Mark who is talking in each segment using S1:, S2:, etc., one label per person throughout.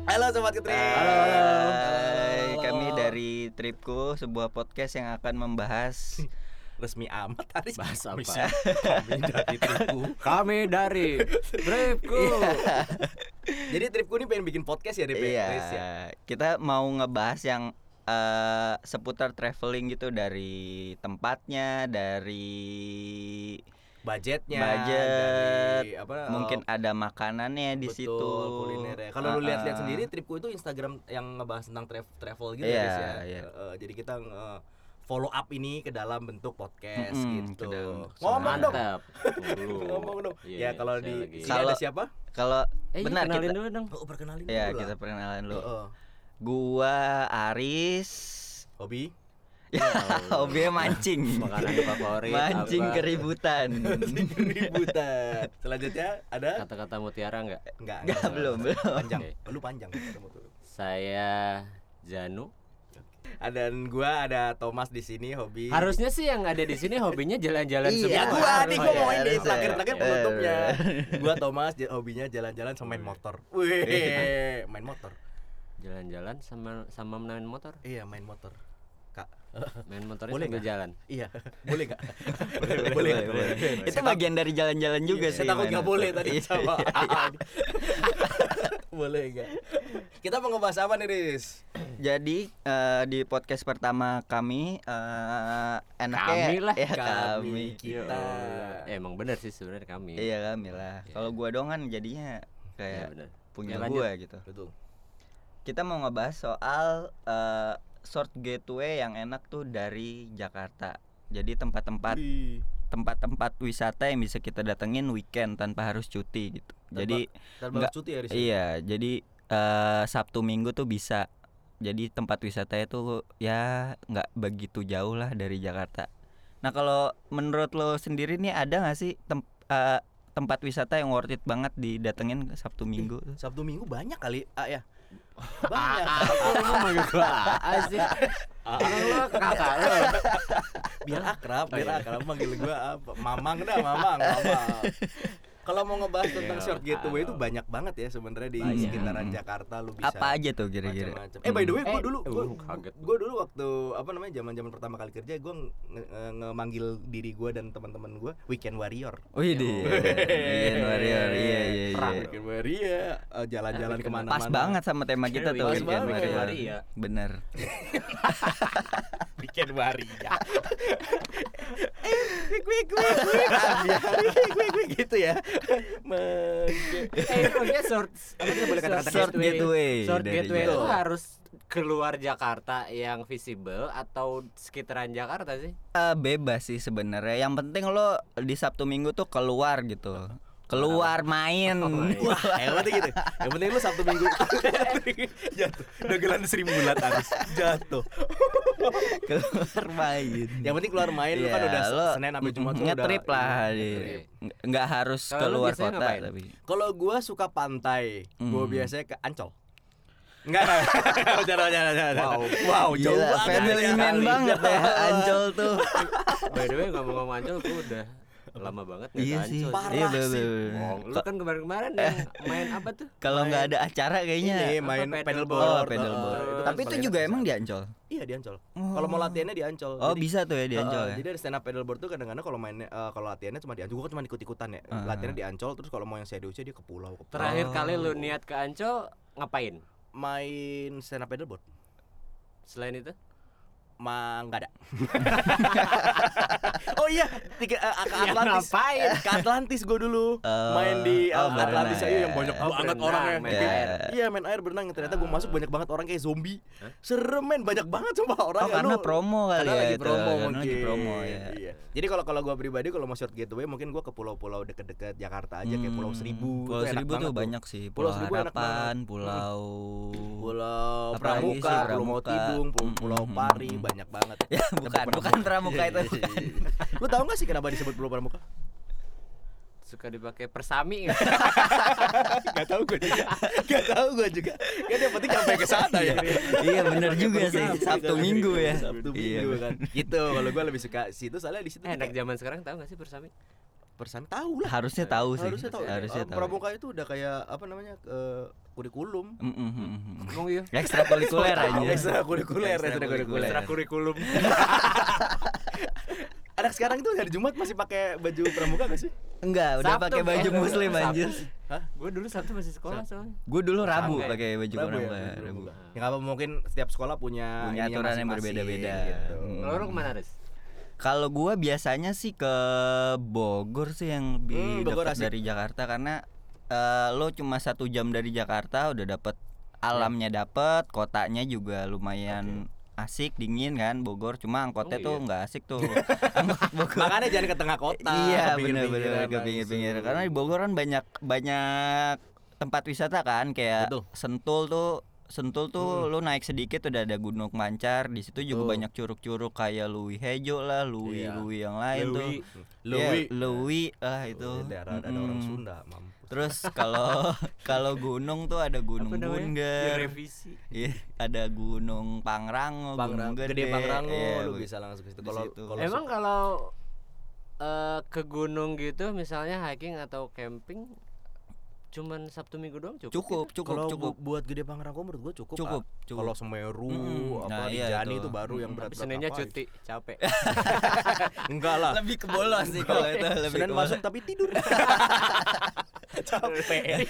S1: Tri.
S2: Halo, halo.
S1: Hai,
S2: Halo.
S1: kami dari Tripku, sebuah podcast yang akan membahas
S2: Resmi amat hari
S3: Bahas apa?
S2: Bisa. Kami dari tripku.
S3: Kami dari Tripku.
S2: Iya. Jadi tripku ini pengen bikin podcast ya DP Chris, ya.
S1: Iya, kita mau ngebahas yang eh, seputar traveling gitu dari tempatnya, dari
S2: Budgetnya.
S1: Budget,
S2: dari apa?
S1: mungkin ada makanannya di
S2: Oh. betul,
S1: situ.
S2: kuliner ya. Kalau
S1: Ah,
S2: lu lihat-lihat
S1: ah.
S2: sendiri tripku itu Instagram yang ngebahas tentang tra- travel gitu
S1: Iya,
S2: ya Chris, ya.
S1: iya.
S2: Eh, jadi kita nge- follow up ini ke dalam bentuk podcast
S1: Mm-mm,
S2: gitu.
S1: ke dalam.
S2: Ngomong dong.
S3: Mantap. Dulu.
S2: Ngomong dong.
S3: Iya,
S2: ya kalau
S3: saya
S2: di iya,
S3: lagi-
S2: sini
S1: Kalau-
S2: ada siapa?
S1: Kalau
S3: Eh,
S1: benar
S3: kenalin
S1: kita
S3: dulu dong.
S2: Oh, perkenalin
S1: ya
S2: dulu
S1: kita
S2: lah. Oh.
S1: perkenalan dulu.
S2: Heeh.
S1: Gua Aris.
S2: Hobi? Ya
S1: Hobinya mancing.
S3: Makanan favorit.
S1: mancing
S3: apa?
S1: keributan.
S2: Ributan. Selanjutnya ada
S3: Kata-kata mutiara enggak?
S2: Enggak,
S1: Enggak, belum, belum.
S2: Panjang.
S3: Oke.
S2: Oh, Lu panjang kamu tuh.
S3: Saya Janu.
S2: Ada dan gua ada Thomas di sini hobi.
S3: Harusnya sih yang ada di sini hobinya jalan-jalan
S1: Iya,
S3: semua.
S2: Ya gua
S1: Harus,
S2: nih gua
S1: iya,
S2: mau ini
S1: harus, iya. Iya.
S2: terakhir-terakhir
S1: Eh,
S2: penutupnya.
S1: bener.
S2: Gua Thomas j- hobinya jalan-jalan sama main motor.
S1: Iya.
S2: Wih, main motor.
S3: Jalan-jalan sama sama main motor.
S2: Iya, main motor. Kak.
S3: Main motornya
S2: Boleh
S3: sambil
S2: nggak?
S3: jalan.
S2: Iya, boleh enggak? boleh,
S1: Itu bagian dari jalan-jalan juga sih.
S2: Saya takut
S1: main
S2: nggak
S1: motor.
S2: boleh tadi
S1: Iya,
S2: sama.
S1: iya.
S2: Aan. boleh enggak? Kita mau ngebahas apa nih, Riz?
S1: Jadi eh, di podcast pertama kami eh enaknya
S3: Kami lah.
S2: Eh,
S1: ya kami.
S3: Ya
S2: kita.
S3: Allah. Eh, emang benar sih sebenarnya kami.
S1: Iya kami lah. Kalau gua dongan jadinya
S3: Iya,
S1: kayak
S3: benar.
S1: punya
S3: Ya, lanjut.
S1: gua gitu.
S2: Betul.
S1: Kita mau ngebahas soal eh, short gateway yang enak tuh dari Jakarta. Jadi tempat-tempat
S2: Wih.
S1: tempat-tempat wisata yang bisa kita datengin weekend tanpa harus cuti gitu.
S2: Tanpa-
S1: Jadi
S2: Tanpa
S1: Nggak,
S2: harus cuti ya Riz?
S1: Iya, jadi eh, Sabtu Minggu tuh bisa. Jadi tempat wisatanya tuh ya nggak begitu jauh lah dari Jakarta. Nah kalau menurut lo sendiri nih ada nggak sih tem- eh, tempat wisata yang worth it banget didatengin ke Sabtu Minggu? tuh?
S2: Sabtu Minggu banyak kali ah, ya.
S3: Ah,
S2: Banyak.
S3: ah, ah, lu manggil gua ah sih. Orang lu kakak lu.
S2: biar akrab, biar
S3: Oh, iya.
S2: akrab manggil gua apa? Mamang dah, Mamang, Mamang. Kalau mau ngebahas tentang
S3: Iya,
S2: short gateway itu
S3: ah.
S2: banyak banget ya sebenarnya di
S3: Banyak.
S2: sekitaran Jakarta lu bisa
S1: Apa aja tuh kira-kira?
S2: macam-macam. Eh by the way, gua
S3: Eh,
S2: dulu gua,
S3: uh, kaget gua.
S2: gua dulu waktu apa namanya zaman-zaman pertama kali kerja gua nge- nge- ngemanggil diri gua dan teman-teman gua weekend warrior.
S1: Wih di
S2: Iya,
S1: Weekend Warrior, iya iya
S3: Perang.
S1: iya.
S2: Weekend warrior, eh, jalan-jalan
S3: Ah, weekend-
S2: kemana-mana.
S1: Pas banget sama tema kita tuh
S3: Pas
S1: Weekend
S2: banget.
S1: Warrior.
S3: Iya.
S1: Bener.
S2: Weekend warrior. Eh, gitu ya. Menge-
S3: Eh, itu dia short apa sih,
S2: Boleh kata-kata
S1: Short gateway
S3: Short
S1: dari
S3: gateway itu
S1: Jakarta.
S3: harus keluar Jakarta yang visible atau sekitaran Jakarta sih?
S1: Eh, bebas sih sebenarnya. Yang penting lo di Sabtu Minggu tuh keluar gitu. Keluar main.
S2: Oh Wah, yang penting gitu. Yang penting lu Sabtu Minggu jatuh. Dagelan seribu bulat harus jatuh.
S1: keluar main.
S2: Yang penting keluar main lu kan
S1: Iya,
S2: udah
S1: lo
S2: Senin sampai Jumat tuh udah. iya,
S1: ngetrip lah di-
S3: ngetrip.
S1: nge- nggak harus
S3: Kalau lo
S1: keluar
S3: biasanya
S1: kota
S3: ngapain?
S1: tapi
S2: Kalau gua suka pantai, gua
S1: Hmm.
S2: biasanya ke Ancol. Enggak, enggak. Jangan, jangan, jangan, jangan. Wow, Oh, jauh
S1: Gila,
S2: banget.
S1: family
S2: ya.
S1: man
S3: Kali.
S1: banget ya Ancol tuh
S3: By the way ngomong-ngomong Ancol gua udah lama banget nggak
S1: iya
S3: ke
S1: sih
S3: Ancol.
S2: Parah
S1: iya bener-
S2: sih.
S1: bener.
S3: Bohong. Lu kan kemarin-kemarin yang main apa tuh?
S1: kalau nggak ada acara
S2: Ini
S1: kayaknya
S2: main
S3: Apa,
S1: oh
S2: paddleboard.
S1: pedalboard
S2: Eh, kan
S1: tapi itu
S2: paling
S1: juga
S2: enak.
S1: emang di Ancol
S2: Iya di Ancol.
S1: Oh.
S2: Kalau mau latihannya di Ancol.
S1: oh
S2: Jadi-
S1: bisa tuh ya di
S2: Heeh,
S1: Ancol ya
S2: Jadi ada stand up paddleboard tuh kadang-kadang kalau mainnya eh, kalau latihannya cuma di Ancol, gua kan cuma ikut-ikutan ya.
S1: Heeh.
S2: Latihannya di Ancol terus kalau mau yang seriusnya dia ke pulau ke pulau.
S3: Terakhir kali lu niat ke Ancol ngapain?
S2: Main stand up paddleboard.
S3: Selain itu?
S2: Ma enggak ada. oh iya, tiga, eh, ke
S3: Ya,
S2: Atlantis.
S3: ngapain?
S2: ke Atlantis gua dulu.
S1: Oh,
S2: main di eh,
S1: oh, berenang
S2: Atlantis aja
S1: ya.
S2: yang banyak
S3: Oh,
S2: banget
S3: berenang,
S2: orangnya.
S3: main
S2: Iya,
S1: air.
S2: Iya, main air berenang ternyata gua masuk banyak banget orang kayak zombie. Serem men banyak banget sama orang. Ya,
S1: Oh, karena promo kali
S2: karena
S1: ya
S2: lagi
S1: itu,
S2: promo
S1: karena
S2: mungkin.
S1: lagi promo ya.
S2: Iya. Jadi kalau kalau gua pribadi kalau mau short getaway mungkin gua ke pulau-pulau deket-deket Jakarta aja kayak Pulau
S1: Hmm,
S2: Seribu.
S1: Pulau
S2: itu enak
S1: Seribu
S2: banget
S1: tuh banyak sih.
S2: Pulau
S1: Pulau,
S2: Seribu enak
S1: Harapan,
S2: banget.
S1: Pulau
S2: Pulau
S1: Apalagi
S2: Pramuka,
S1: sih,
S2: Pulau
S1: Pramuka.
S2: Tidung, Pulau,
S1: Mm,
S2: Pulau
S1: mm,
S2: Pari,
S1: mm, mm.
S2: banyak banget.
S1: Ya bukan, bukan Pramuka itu. bukan.
S2: Lu tahu gak sih kenapa disebut Pulau Pramuka?
S3: Suka dipakai persami nggak?
S2: gak tahu gue juga. Gak tahu gue juga. Kan yang penting sampai ke sana ya.
S1: iya bener juga
S2: Pakai
S1: sih.
S2: perusahaan.
S1: Sabtu Minggu ya.
S2: Sabtu
S1: Iya,
S2: Minggu kan. Gitu kalau gue lebih suka situ soalnya di situ
S3: Eh, Anak
S2: kayak
S3: zaman sekarang tahu nggak sih persami?
S2: persami tahu lah.
S1: Harusnya tahu sih.
S2: Harusnya tahu.
S1: Harusnya
S2: Eh,
S1: tahu.
S2: Pramuka itu udah kayak apa namanya? eh, kurikulum.
S1: Mm, mm, mm, mm.
S3: kamu yuk
S1: ekstrakurikuler aja
S2: Ekstrakurikuler, ekstrakurikuler.
S3: ekstra kurikulum
S2: Anak sekarang itu hari Jumat masih pakai baju pramuka gak sih?
S1: enggak udah
S3: Sabtu,
S1: pakai
S3: Bro.
S1: baju muslim
S3: Sabtu.
S1: anjir
S2: Hah?
S3: gue dulu sabtu masih sekolah soalnya
S1: gue dulu rabu
S3: Sampai.
S1: pakai baju
S2: Rabu ya,
S1: pramuka
S2: baju
S1: rabu
S2: pramuka. Ya nggak apa mungkin setiap sekolah punya
S1: Punya
S2: ininya
S1: aturan yang
S2: masing-masing
S1: berbeda-beda.
S2: gitu.
S1: Hmm.
S3: Kalau lu kemana Res?
S1: kalau gua biasanya sih ke Bogor sih yang
S2: Hmm,
S1: lebih
S2: Bogor
S1: dekat
S2: asik.
S1: dari Jakarta karena eh, lo cuma satu jam dari Jakarta udah dapet alamnya
S2: Iya.
S1: dapet kotanya juga lumayan asik dingin kan Bogor cuma angkotnya
S3: Oh,
S1: tuh
S3: iya.
S1: nggak asik tuh angkot Bogor
S2: Makanya jangan ke tengah kota.
S1: iya
S2: ke kan,
S1: bener-bener
S2: pinggir-pinggiran
S1: ke pinggir-pinggir
S2: langsung.
S1: karena di Bogor kan banyak banyak tempat wisata kan kayak
S2: Betul.
S1: Sentul tuh Sentul tuh lu naik sedikit udah ada Gunung Mancar di situ juga
S2: Tuh.
S1: banyak curug-curug kayak Lui Hejo lah Lui
S2: Iya.
S1: Lui yang lain tuh
S3: Lewi.
S1: Lui
S2: Lewi.
S1: Lui ah itu
S2: Itu Iya. daerah ada orang
S1: Mm-mm.
S2: Sunda, mampus.
S1: terus kalau kalau gunung tuh ada Gunung
S3: Apa namanya? Ya,
S1: Bungger
S3: revisi
S1: Iya, ada Gunung Pangrango, Oh,
S2: Pangrang,
S1: Gunung Gede,
S2: gede Pangrango,
S1: Iya,
S2: lu
S1: be-
S2: bisa langsung ke situ.
S1: di
S2: Kalau
S1: situ.
S2: kalau
S3: emang kalau eh, ke gunung gitu misalnya hiking atau camping cuman sabtu minggu doang cukup
S1: cukup
S3: gitu?
S1: cukup
S2: kalau
S1: cukup
S2: bu- buat gede Pangrango menurut gua cukup.
S1: cukup
S2: ah.
S1: cukup.
S2: Kalau Semeru,
S1: Mm,
S2: apa
S1: nah,
S2: di
S1: iya
S2: Jani
S1: itu.
S2: itu baru yang
S1: Mm,
S2: berat.
S3: tapi seninnya cuti capek
S2: Enggak lah.
S1: lebih ke bolos sih kalau itu lebih
S2: Senin
S1: ke bolos.
S2: masuk tapi tidur. Capek.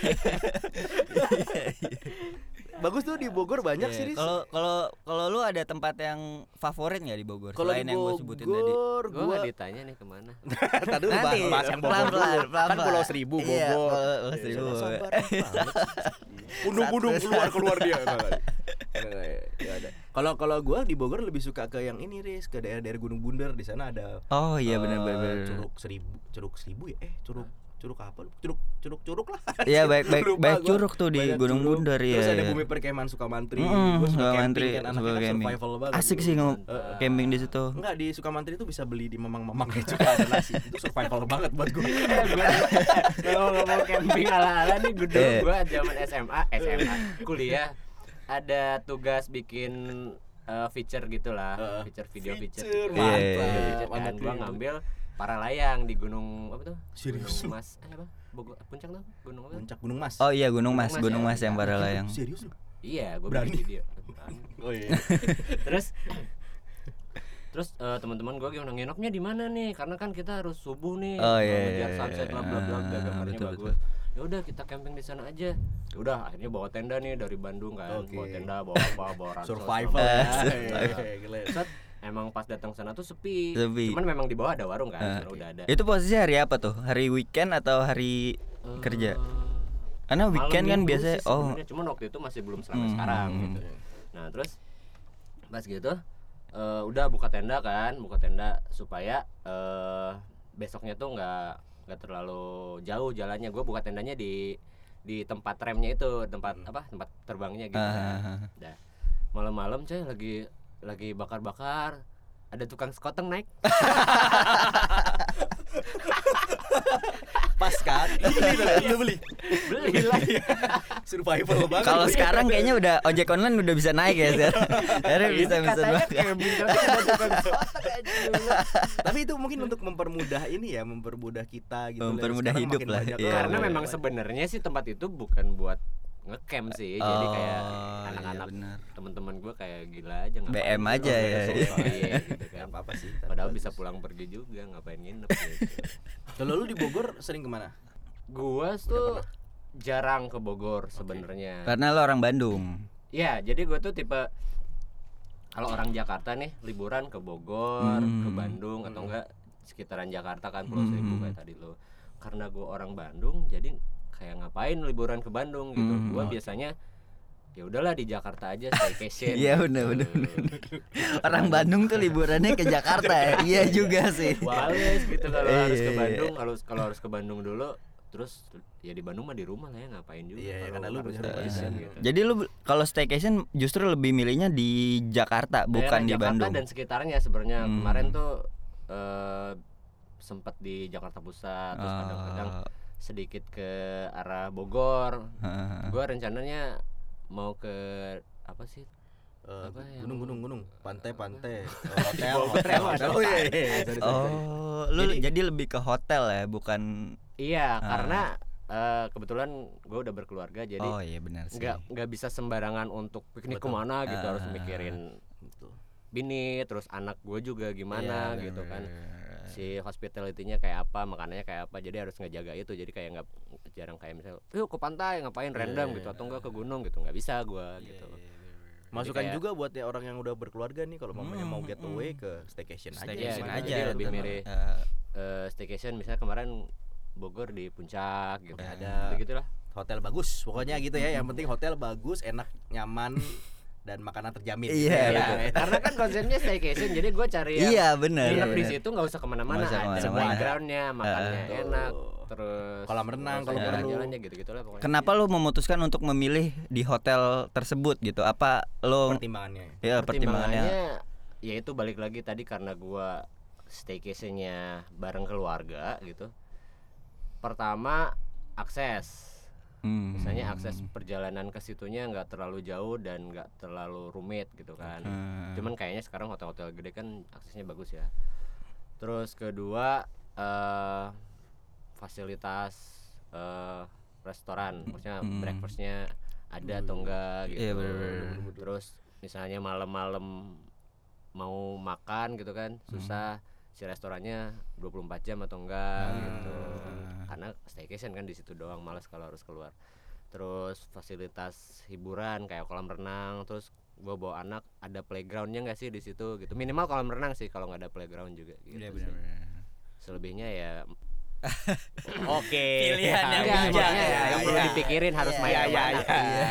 S2: Bagus tuh di Bogor banyak
S1: Iya,
S2: sih. Riz.
S1: Kalau kalau kalau lu ada tempat yang favorit nggak di Bogor
S2: Kalau di
S1: selain yang gue sebutin tadi?
S2: Bogor,
S3: gue
S2: gua
S3: nggak ditanya nih kemana
S2: Tadi dulu bahas, bahas yang Bogor dulu. Kan Pulau Seribu,
S1: Iya,
S2: Bogor.
S1: Pulau- Pulau Seribu. Iya,
S2: Undung-undung
S1: Satu,
S2: keluar keluar dia. Nggak, nggak. Nggak, nggak, nggak ada. Kalau kalau gua di Bogor lebih suka ke yang ini, Riz, ke daerah-daerah Gunung Bunder di sana ada
S1: Oh iya
S2: eh,
S1: benar benar. benar.
S2: Curug Seribu, Curug Seribu ya? Eh, Curug Curug apa? lu? Curug Curug Curug lah.
S1: Iya baik baik
S2: Lupa
S1: baik
S2: gua.
S1: curug tuh di
S2: Banyak
S1: Gunung
S2: curug.
S1: Bundar ya.
S2: Terus ada
S1: ya.
S2: bumi perkemahan Sukamantri.
S1: Mm-mm,
S2: Gua suka
S1: Sukamantri,
S2: camping kan anaknya
S1: suka
S2: kan
S1: camping.
S2: survival banget.
S1: Asik sih ngom-
S2: Heeh.
S1: camping di situ.
S2: Enggak di Sukamantri itu bisa beli di memang-memang kayak juga ada nasi. Itu survival banget buat gue.
S3: kalau ngomong camping ala-ala nih gedung
S1: Iya.
S3: gua zaman SMA, SMA kuliah ada tugas bikin eh, feature
S2: Heeh.
S3: gitulah, feature video feature.
S2: Feature,
S3: gitu.
S1: mantap.
S3: Iya, feature
S2: Mantap
S3: kan gua
S2: gitu.
S3: ngambil para layang di gunung apa tuh?
S2: Serius lu?
S3: gunung Mas, eh, apa? Bogor, puncak tuh? Gunung apa? tuh?
S2: Puncak Gunung Mas.
S1: Oh iya Gunung
S3: Gunung
S1: Mas,
S3: Mas
S1: Gunung
S3: ya.
S1: Mas yang para layang.
S2: Serius lu?
S3: Iya, gua
S2: Berani.
S3: bikin video.
S2: Oh iya.
S3: Terus Terus eh, teman-teman gua gimana nginepnya di mana nih? Karena kan kita harus subuh nih,
S1: Oh, iya,
S3: ngejar
S1: iya,
S3: sunset
S1: iya.
S3: lah, bla bla bla,
S1: Ah,
S3: gambarnya
S1: betul,
S3: bagus. Ya udah kita camping di sana aja. Ya udah akhirnya bawa tenda nih dari Bandung kan,
S2: Oke.
S3: bawa tenda, bawa bawa, bawa ransel,
S1: Eh,
S2: Survival.
S1: Ah,
S2: ya.
S3: segala macam.
S2: Iya, iya, gila.
S3: Set, emang pas datang sana tuh sepi.
S1: Sepi.
S3: Cuman memang di bawah ada warung kan,
S1: Ah.
S3: sebenarnya udah ada.
S1: Itu posisi hari apa tuh? Hari weekend atau hari kerja?
S3: Eh,
S1: Karena
S3: malam
S1: weekend kan
S3: minggu
S1: biasanya
S3: sih
S1: oh
S3: sebenarnya, cuman waktu itu masih belum selama
S1: Hmm,
S3: sekarang
S1: hmm,
S2: ya.
S3: gitu nah terus pas gitu eh, udah buka tenda kan buka tenda supaya eh, besoknya tuh nggak nggak terlalu jauh jalannya gue buka tendanya di di tempat remnya itu tempat apa tempat terbangnya gitu kan.
S1: Hmm. ah, ah, ah.
S3: Dah. malam-malam coy lagi lagi bakar-bakar ada tukang sekoteng naik
S2: Pas kan. Beli tuh, lu beli.
S3: beli lah
S2: Survival banget.
S1: Kalau sekarang kayaknya udah ojek online udah bisa naik ya. Zar. Sekarang bisa bisa
S3: katanya
S1: banget.
S3: camping tapi ada tukang sekoteng aja
S2: tapi itu mungkin untuk mempermudah ini ya, mempermudah kita gitu. loh.
S1: Mempermudah
S2: Sekarang
S1: hidup
S2: makin
S1: lah,
S2: banyak
S1: iya.
S2: orang
S3: karena
S2: yang-
S3: memang sebenarnya sih tempat itu bukan buat ngecamp sih jadi kayak
S1: Oh, iya,
S3: anak-anak
S1: benar.
S3: teman-teman gue kayak gila aja ngapain
S1: BM
S3: gitu,
S1: aja
S3: nggak ada
S1: ya.
S3: sosial, iya, gitu
S2: Nggak
S3: kan.
S2: apa-apa sih. tapi
S3: padahal
S2: bagus.
S3: bisa pulang pergi juga ngapain nginep gitu.
S2: Kalau lu di Bogor sering kemana?
S3: gue tuh jarang ke Bogor sebenarnya
S1: Karena lo orang Bandung.
S3: ya jadi gue tuh tipe kalau orang Jakarta nih liburan ke Bogor ke
S1: Hmm.
S3: Bandung atau
S2: Hmm.
S3: enggak sekitaran Jakarta kan
S1: Hmm.
S3: Pulau Seribu kayak tadi lo karena gue orang Bandung jadi kayak ngapain liburan ke Bandung gitu
S1: Hmm.
S3: gue biasanya ya udahlah di Jakarta aja staycation gitu.
S1: Iya, bener, bener, Orang Bandung tuh liburannya ke Jakarta ya. Iya juga sih.
S3: Wales gitu kalau
S1: Iya,
S3: harus ke
S1: iya, iya.
S3: Bandung kalau kalau harus ke Bandung dulu terus ya di Bandung mah di rumah lah ya ngapain juga
S2: Iya, iya,
S3: kalau
S2: karena lu
S3: harus
S2: punya rumah di
S3: staycation
S2: sana.
S3: gitu.
S1: Jadi lu kalau staycation justru lebih milihnya di Jakarta bukan
S3: Daerah
S1: di
S3: Jakarta
S1: Bandung.
S3: dan sekitarnya sebenarnya
S1: Hmm.
S3: kemarin tuh eh, sempat di Jakarta Pusat terus
S1: Oh,
S3: kadang-kadang sedikit ke arah Bogor
S1: heeh.
S3: gue rencananya mau ke apa sih
S2: Eh,
S3: Apa yang-
S2: gunung gunung gunung pantai pantai Oh,
S3: Di
S2: hotel
S3: Bogor
S2: hotel
S3: emang ada
S2: hotel. Oh, iya, iya, iya. Sorry, sorry, sorry.
S1: Oh, lu jadi, lebih ke hotel ya, bukan Ah.
S3: iya karena eh, kebetulan gue udah berkeluarga jadi
S1: oh iya benar sih.
S3: nggak nggak bisa sembarangan untuk piknik
S2: Betul.
S3: kemana gitu harus
S1: Ah.
S3: mikirin
S2: Betul.
S3: bini terus anak gue juga
S1: Iya,
S3: gimana gitu kan
S1: benar-benar.
S3: si hospitality-nya kayak apa makanannya kayak apa jadi harus ngejaga itu jadi kayak nggak jarang kayak misalnya yuk ke pantai ngapain
S1: Iya,
S3: random gitu atau enggak ke gunung gitu nggak bisa gua
S2: Iya,
S3: gitu
S2: iya, iya, iya. Masukan
S3: kayak-
S2: juga buat ya orang yang udah berkeluarga nih kalau mamanya mau
S1: Hmm, hmm.
S2: getaway ke staycation,
S1: Staycation
S2: aja.
S3: Iya,
S2: gitu.
S1: aja
S3: jadi lebih
S1: betul.
S3: mirip.
S1: Eh,
S3: Eh, staycation misalnya kemarin Bogor di puncak gitu
S1: Nah.
S2: Udah ada.
S3: ada gitu lah
S2: Hotel bagus, pokoknya gitu ya. Yang penting hotel bagus, enak, nyaman dan makanan terjamin.
S1: Iya,
S2: Ya,
S1: betul.
S2: ya.
S3: karena kan konsepnya staycation jadi gua cari yang
S1: iya benar.
S3: Enak di
S1: benar.
S3: situ nggak usah kemana-mana,
S1: Nggak usah
S3: ada
S1: kemana-mana.
S3: playgroundnya, makannya
S2: Betul.
S3: Ya, enak, terus
S2: Kolam renang kalau perlu.
S3: jalannya gitu gitulah pokoknya.
S1: Kenapa lu memutuskan untuk memilih di hotel tersebut gitu? Apa lo
S2: Pertimbangannya.
S1: ya pertimbangannya?
S3: pertimbangannya ya itu balik lagi tadi karena gua staycationnya bareng keluarga gitu. Pertama akses,
S1: Hmm.
S3: misalnya akses perjalanan ke situnya nggak terlalu jauh dan nggak terlalu rumit gitu kan.
S1: Hmm.
S3: Cuman kayaknya sekarang hotel-hotel gede kan aksesnya bagus ya. Terus kedua eh fasilitas eh restoran, maksudnya
S1: Mm.
S3: breakfastnya ada atau enggak gitu.
S1: Iya, bener-bener.
S3: Terus misalnya malam-malam mau makan gitu kan susah si restorannya 24 jam atau enggak
S1: Ah.
S3: gitu. Karena staycation kan di situ doang malas kalau harus keluar. Terus fasilitas hiburan kayak kolam renang, terus gua bawa anak ada playgroundnya nggak sih di situ gitu. Minimal kolam renang sih kalau nggak ada playground juga gitu.
S1: Iya
S3: sih.
S1: benar-benar.
S3: Selebihnya ya ah,
S2: Oke.
S1: Pilihan yang
S2: Iya,
S1: bijak.
S2: iya, iya,
S3: ya, yang
S2: iya.
S3: perlu dipikirin harus main
S2: Iya,
S3: sama
S2: iya,
S3: anak.
S2: iya.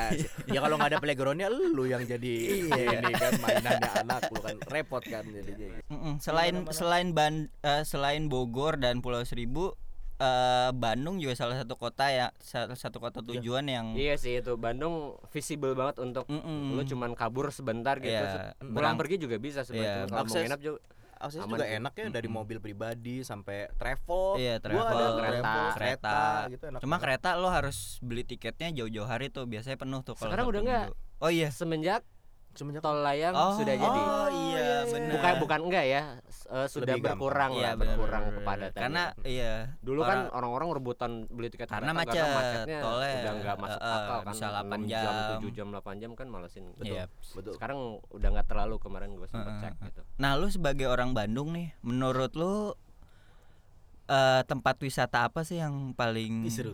S2: Ya kalau nggak ada playgroundnya lu yang jadi ini kan mainannya anak lu kan repot kan jadinya.
S3: Iya,
S1: Mm-mm. Selain selain Ban- eh, selain Bogor dan Pulau Seribu, eh, Bandung juga salah satu kota ya salah satu kota tujuan yang
S3: Iya sih itu Bandung visible banget untuk
S1: Mm-mm.
S3: lu cuman kabur sebentar gitu.
S1: Hmm. Iya,
S3: se- Pulang
S1: berang-
S3: pergi juga
S1: iya,
S3: bisa sebenarnya. Cuman Kalau mau
S2: akses-
S3: nginep juga
S2: Akses
S3: Aman
S2: juga
S3: sih.
S2: enak ya dari mobil pribadi sampai travel.
S1: Iya,
S2: Gua ada
S1: travel,
S2: travel,
S1: kereta.
S2: kereta, gitu enak.
S1: Cuma
S2: banget.
S1: kereta lo harus beli tiketnya jauh-jauh hari tuh biasanya penuh tuh kalau
S3: Sekarang
S1: Sabtu
S3: udah nggak.
S1: Minggu. Oh iya.
S3: Eh, semenjak
S2: Cuma nyokap-
S3: tol layang sudah jadi.
S1: Oh iya benar.
S3: Bukan bukan enggak ya, s- eh, sudah
S2: Lebih gampang.
S3: berkurang
S1: Iya,
S3: lah,
S1: benar,
S3: berkurang
S1: benar, benar.
S3: kepadatannya.
S1: Karena iya.
S3: Dulu kan
S1: orang-
S3: orang-orang rebutan beli tiket
S1: Karena
S3: kereta
S1: macet,
S3: macetnya
S1: tolnya,
S3: udah nggak masuk
S1: eh, eh,
S3: akal kan.
S1: bisa 8
S3: 6
S1: jam.
S3: 7 jam, 8 jam kan malesin.
S1: Iya.
S2: Betul.
S3: Sekarang udah nggak terlalu kemarin gue sempat
S1: Eh, eh,
S3: cek gitu.
S1: Nah, lu sebagai orang Bandung nih, menurut lu eh, tempat wisata apa sih yang paling
S2: Ih, seru.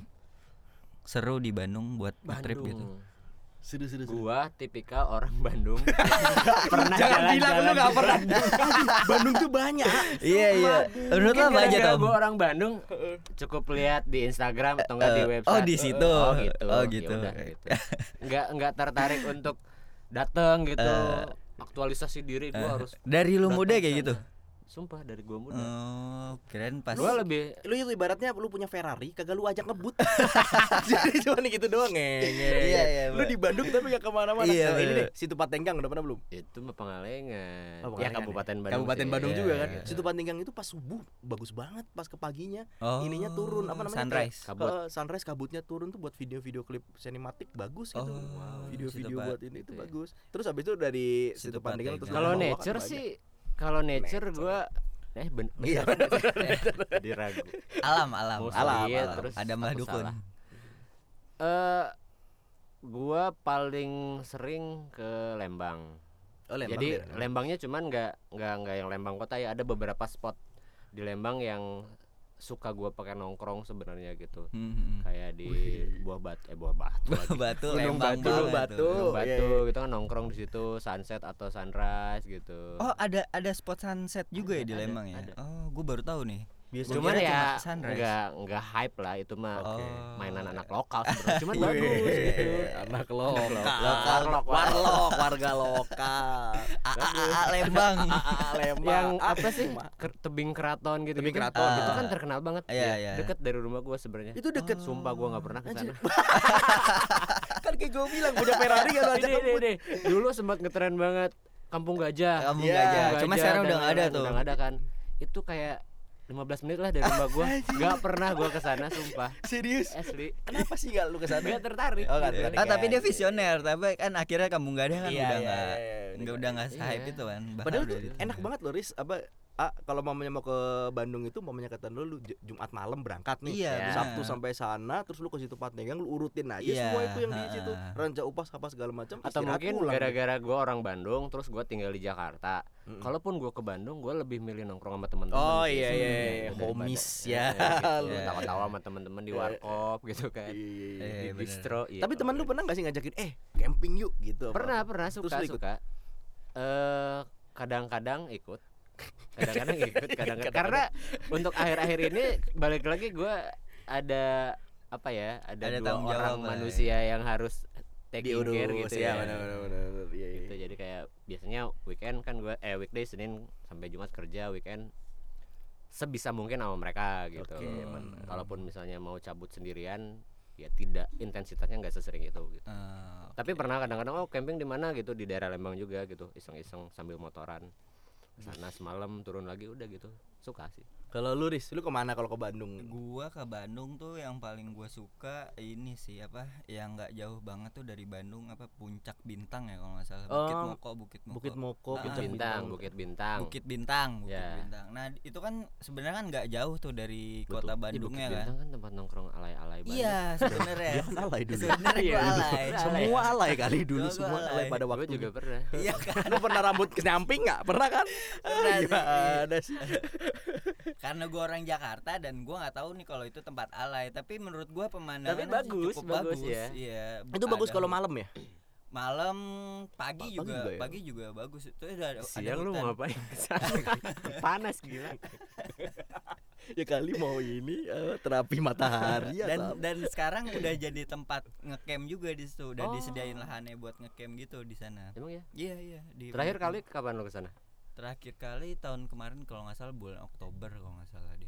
S1: seru di Bandung buat trip gitu?
S2: Seru seru seru.
S3: Gua tipikal orang Bandung. pernah
S2: Jangan bilang lu
S3: jalan-jalan
S2: nggak
S3: di
S2: pernah. Bandung tuh banyak.
S1: Iya, iya. Menurut lu
S3: Mungkin
S1: apa aja,
S3: gara-gara
S1: Tom?
S3: gua orang Bandung cukup lihat di Instagram atau enggak di
S1: Eh,
S3: website.
S1: oh, di situ.
S3: Oh gitu.
S1: Oh, gitu.
S3: Yaudah, gitu. Enggak enggak tertarik untuk datang gitu. Aktualisasi diri gua harus
S1: Dari Eh. lu
S3: datang
S1: muda kayak
S3: sana.
S1: gitu.
S3: Sumpah dari gua muda.
S1: Oh, keren pas.
S3: Gua lebih
S2: Lu itu ibaratnya lu punya Ferrari, kagak lu ajak ngebut. Jadi cuma gitu doang ngeng.
S1: Iya, iya,
S2: Lu
S1: Mbak.
S2: di Bandung tapi gak kemana-mana.
S1: Iya,
S2: Nah, ini
S1: bener.
S2: deh, situ Patenggang udah pernah belum?
S3: itu mah pengalengan.
S2: Oh, Pengalengan
S3: ya Kabupaten Bandung.
S2: Kabupaten
S3: sih.
S2: Bandung
S1: Iya,
S2: juga kan.
S1: iya.
S2: Situ Patenggang itu pas subuh bagus banget, pas ke paginya
S1: Oh,
S2: ininya turun apa namanya?
S1: Sunrise.
S2: Kayak,
S3: Kabut.
S2: eh, sunrise kabutnya turun tuh buat video-video klip sinematik bagus
S1: Oh,
S2: itu.
S1: wow.
S2: Video-video
S1: situ, Pak.
S2: buat ini itu
S3: Gitu ya.
S2: bagus. Terus habis itu dari
S1: Situ
S2: situ
S1: Patenggang.
S2: Patenggang terus lu
S3: Kalau
S2: ke bawah kan
S3: nature
S2: banyak.
S3: sih kalau nature gua eh ben Eh,
S2: Iya.
S3: jadi ragu.
S1: Alam, alam.
S3: Mau
S1: alam,
S3: sedih,
S1: alam.
S3: terus
S1: Ada
S3: aku
S1: malah dukun.
S3: salah. Eh gua paling sering ke Lembang.
S2: Oh, Lembang
S3: Jadi
S2: daerah.
S3: Lembangnya cuman nggak nggak nggak yang Lembang kota ya ada beberapa spot di Lembang yang suka gua pakai nongkrong sebenarnya gitu.
S1: Hmm, hmm, hmm.
S3: Kayak di buah batu eh buah batu. lagi.
S1: Batu,
S2: Gunung
S1: Lembang
S2: Batu, Gunung
S1: banget tuh.
S2: Batu.
S3: Gunung
S2: iya,
S3: batu gitu kan nongkrong di situ sunset atau sunrise gitu.
S1: Oh, ada ada spot sunset juga ya di
S3: Ada,
S1: Lembang ya.
S3: ada.
S1: Oh, gue baru tahu nih.
S2: Biasanya
S3: Cuman
S1: kira
S3: ya
S1: cuma sunrise.
S3: nggak nggak hype lah itu mah
S1: Oke.
S3: mainan anak lokal sebenarnya. Cuman
S2: Wih,
S3: bagus gitu.
S2: Anak lokal.
S3: Lokal, lokal.
S2: Warlock, warga lokal.
S1: AA Ah, Lembang.
S2: AA Lembang.
S3: yang
S2: Ah,
S3: apa sih Ke- tebing keraton gitu
S2: Tebing Keraton,
S3: itu
S1: betul.
S3: kan terkenal banget
S1: Iya,
S3: ya.
S1: iya.
S3: deket dari rumah gua sebenarnya
S2: Itu deket.
S3: sumpah gua nggak pernah ke
S2: Anjir.
S3: sana
S2: kan kayak gue bilang punya Ferrari kan lu ajak
S3: Ini, ini,
S2: ngebut.
S3: ini. dulu sempat ngetren banget kampung gajah
S1: Kamu enggak
S2: Iya, iya.
S1: aja.
S3: Kampung
S1: Cuma
S3: Gajah
S1: sekarang
S3: dan
S1: udah nggak ada
S3: lain-lain,
S1: tuh.
S3: udah nggak ada kan itu kayak 15 menit lah dari rumah gua nggak pernah gua ke sana sumpah
S2: Serius.
S3: asli
S2: Kenapa sih gak lu ke sana?
S3: nggak tertarik
S2: Oh, nggak tertarik.
S1: Ah, tapi dia
S2: Iya.
S1: visioner, tapi kan akhirnya kamu nggak ada kan udah
S2: Iya, iya,
S1: nggak
S2: iya, iya.
S1: nggak udah nggak hype
S3: Iya.
S1: itu kan. Bahkan
S2: Padahal
S1: udah
S2: tuh
S1: itu.
S2: enak banget loh Riz apa A, kalau mamanya mau ke Bandung itu mamanya kata lu, lu J- Jumat malam berangkat nih.
S1: Iya,
S3: Ya.
S2: Lu
S1: benar.
S2: Sabtu sampai sana terus lu ke situ tempat negang lu urutin aja
S1: Iya,
S2: semua itu yang di situ.
S1: ha.
S2: Ranca upas apa segala macam
S3: atau
S2: istirahat
S3: mungkin
S2: pulang.
S3: gara-gara gue orang Bandung terus gue tinggal di Jakarta
S2: Mm-mm.
S3: kalaupun gue ke Bandung gue lebih milih nongkrong sama teman-teman
S2: Oh
S3: sih.
S2: iya iya, iya.
S3: Daripada-
S2: homies
S3: Iya,
S2: ya.
S3: gitu.
S2: Lu-
S1: Iya.
S3: tawa-tawa sama teman-teman di warkop gitu kan
S2: Iya, iya, iya.
S1: Iya,
S3: di
S1: bener.
S3: distro iya,
S2: Tapi teman lu
S3: kalau-
S2: pernah gak sih ngajakin eh camping yuk gitu? apa?
S3: pernah pernah
S2: Terus
S3: suka
S2: lu ikut?
S3: suka eh kadang-kadang ikut kadang-kadang ikut kadang-kadang karena untuk akhir-akhir ini balik lagi gue ada apa ya ada,
S1: Ada
S3: dua
S1: tanggung jawab
S3: orang
S1: lah,
S3: manusia yang harus taking
S2: eh. diurus
S3: care gitu
S2: ya.
S3: ya,
S2: benar, benar, benar, benar. Iya, iya.
S1: ya.
S3: gitu jadi kayak biasanya weekend kan gue eh weekday senin sampai jumat kerja weekend sebisa mungkin sama mereka gitu
S2: Oke, benar.
S3: kalaupun misalnya mau cabut sendirian ya tidak intensitasnya nggak sesering itu gitu
S1: Eh,
S3: tapi pernah kadang-kadang oh camping di mana gitu di daerah Lembang juga gitu iseng-iseng sambil motoran sana semalam turun lagi udah gitu suka sih
S2: Kalau lu Riz, lu kemana kalau ke Bandung?
S1: gua ke Bandung tuh yang paling gua suka ini sih apa yang nggak jauh banget tuh dari Bandung apa puncak bintang ya kalau nggak salah Bukit
S2: Oh,
S1: Moko Bukit Moko
S2: Bukit Moko,
S1: Ah,
S3: Bukit
S1: Bukit
S3: Bintang Bukit Bintang
S1: Bukit Bintang, Bukit
S3: Ya.
S1: Bintang. Nah, di- itu kan sebenarnya kan nggak jauh tuh dari
S3: Betul.
S1: kota
S3: Ih,
S1: Bandungnya
S3: Bukit
S1: kan.
S3: Bintang kan tempat nongkrong alay-alay Bandung
S1: Iya, sebenarnya.
S2: Dia kan alay dulu.
S1: Sebenarnya
S3: Iya,
S1: gua
S3: dulu.
S1: alay.
S2: Semua alay kali dulu,
S1: Gua- gua
S2: semua alay
S1: alay.
S2: pada
S3: Gua
S2: waktu
S3: juga pernah
S1: Iya kan?
S2: Lu pernah rambut kenyamping nggak? Pernah kan?
S1: Pernah sih.
S2: Gimana sih?
S1: Karena gua orang Jakarta dan gua nggak tahu nih kalau itu tempat alay, tapi menurut gua pemandangan
S3: Tapi bagus, bagus ya.
S1: Iya.
S2: Itu bagus
S1: ada
S2: kalau malam ya?
S1: malam pagi
S2: Pagi
S1: juga,
S2: juga ya?
S1: pagi juga bagus. Itu ada ada
S3: siang lu
S1: hutan.
S3: mau ngapain panas gila
S2: Ya kali mau ini eh, terapi matahari ya.
S3: Iya,
S1: dan dan sekarang udah jadi tempat ngecamp juga di situ. Udah
S3: Oh.
S1: disediain lahannya buat ngecamp gitu di sana.
S3: emang ya
S1: Iya, iya, di
S3: terakhir
S1: Bukit
S3: kali kapan lu kesana
S1: Terakhir kali tahun kemarin kalau nggak salah bulan Oktober kalau nggak salah deh.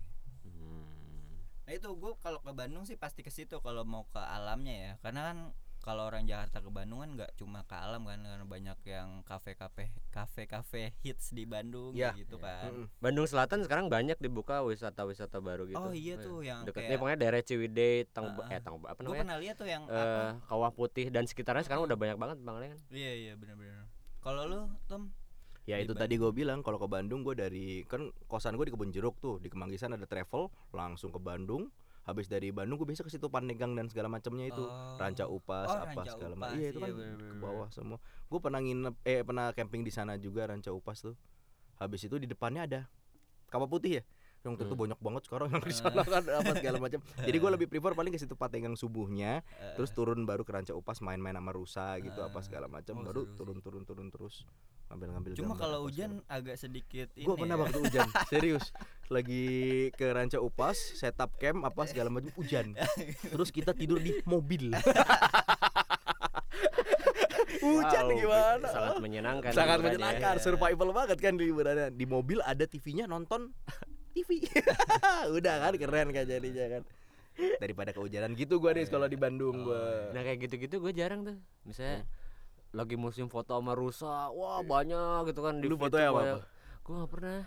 S1: Nah itu gue kalau ke Bandung sih pasti ke situ kalau mau ke alamnya ya. Karena kan kalau orang Jakarta ke Bandung kan nggak cuma ke alam kan karena banyak yang kafe-kafe kafe-kafe hits di Bandung
S2: Ya.
S1: kayak gitu kan.
S3: Bandung Selatan sekarang banyak dibuka wisata-wisata baru gitu
S1: Oh iya tuh yang
S2: eh,
S3: dekatnya
S1: kayak
S3: pokoknya daerah Ciwidey Tang
S1: Ah,
S3: eh Tang apa
S1: gue
S3: namanya
S1: pernah lihat tuh yang apa?
S3: eh Kawah Putih dan sekitarnya sekarang udah banyak banget bang kan
S1: Iya iya benar-benar. Kalau lu Tom
S2: Ya itu
S1: Di
S2: tadi gue bilang kalau ke Bandung gue dari kan kosan gue di kebun jeruk tuh di Kemanggisan ada travel langsung ke Bandung. Habis dari Bandung gue bisa ke situ Panegang dan segala macamnya itu.
S1: Oh.
S2: Ranca Upas
S1: Oh,
S2: apa
S1: Ranca
S2: segala
S1: Upas,
S2: macam. Iya itu
S1: iya,
S2: kan
S1: bener-bener.
S2: ke bawah semua. Gue pernah nginep eh pernah camping di sana juga Ranca Upas tuh. Habis itu di depannya ada Kawah Putih ya. Yang tentu
S1: Hmm.
S2: banyak banget sekarang yang di sana kan apa segala macam. Jadi gue lebih prefer paling ke situ Panegang subuhnya,
S1: Eh,
S2: terus turun baru ke Ranca Upas main-main sama rusa gitu apa segala macam,
S1: Oh,
S2: baru
S1: seru sih.
S2: turun-turun turun terus ngambil-ngambil
S1: cuma
S2: gambar
S1: kalau
S2: apa
S1: hujan
S2: segala
S1: agak sedikit ini.
S2: Gue pernah
S1: ya.
S2: waktu hujan, serius. Lagi ke Ranca Upas, setup camp apa segala macam hujan. Terus kita tidur di mobil. hujan
S3: Wow,
S2: gimana?
S3: sangat menyenangkan
S2: Sangat
S3: liburannya.
S2: menyenangkan, survival banget kan di liburannya. Di mobil ada TV-nya nonton TV. Udah kan keren kan jadinya kan. Daripada kehujanan gitu gua nih kalau di Bandung gua.
S3: Nah kayak gitu-gitu gue jarang tuh.
S2: Hmm.
S3: Misalnya lagi musim foto sama rusa, wah banyak gitu kan di
S2: Iya. Lu fotonya sama apa?
S3: Gue gak pernah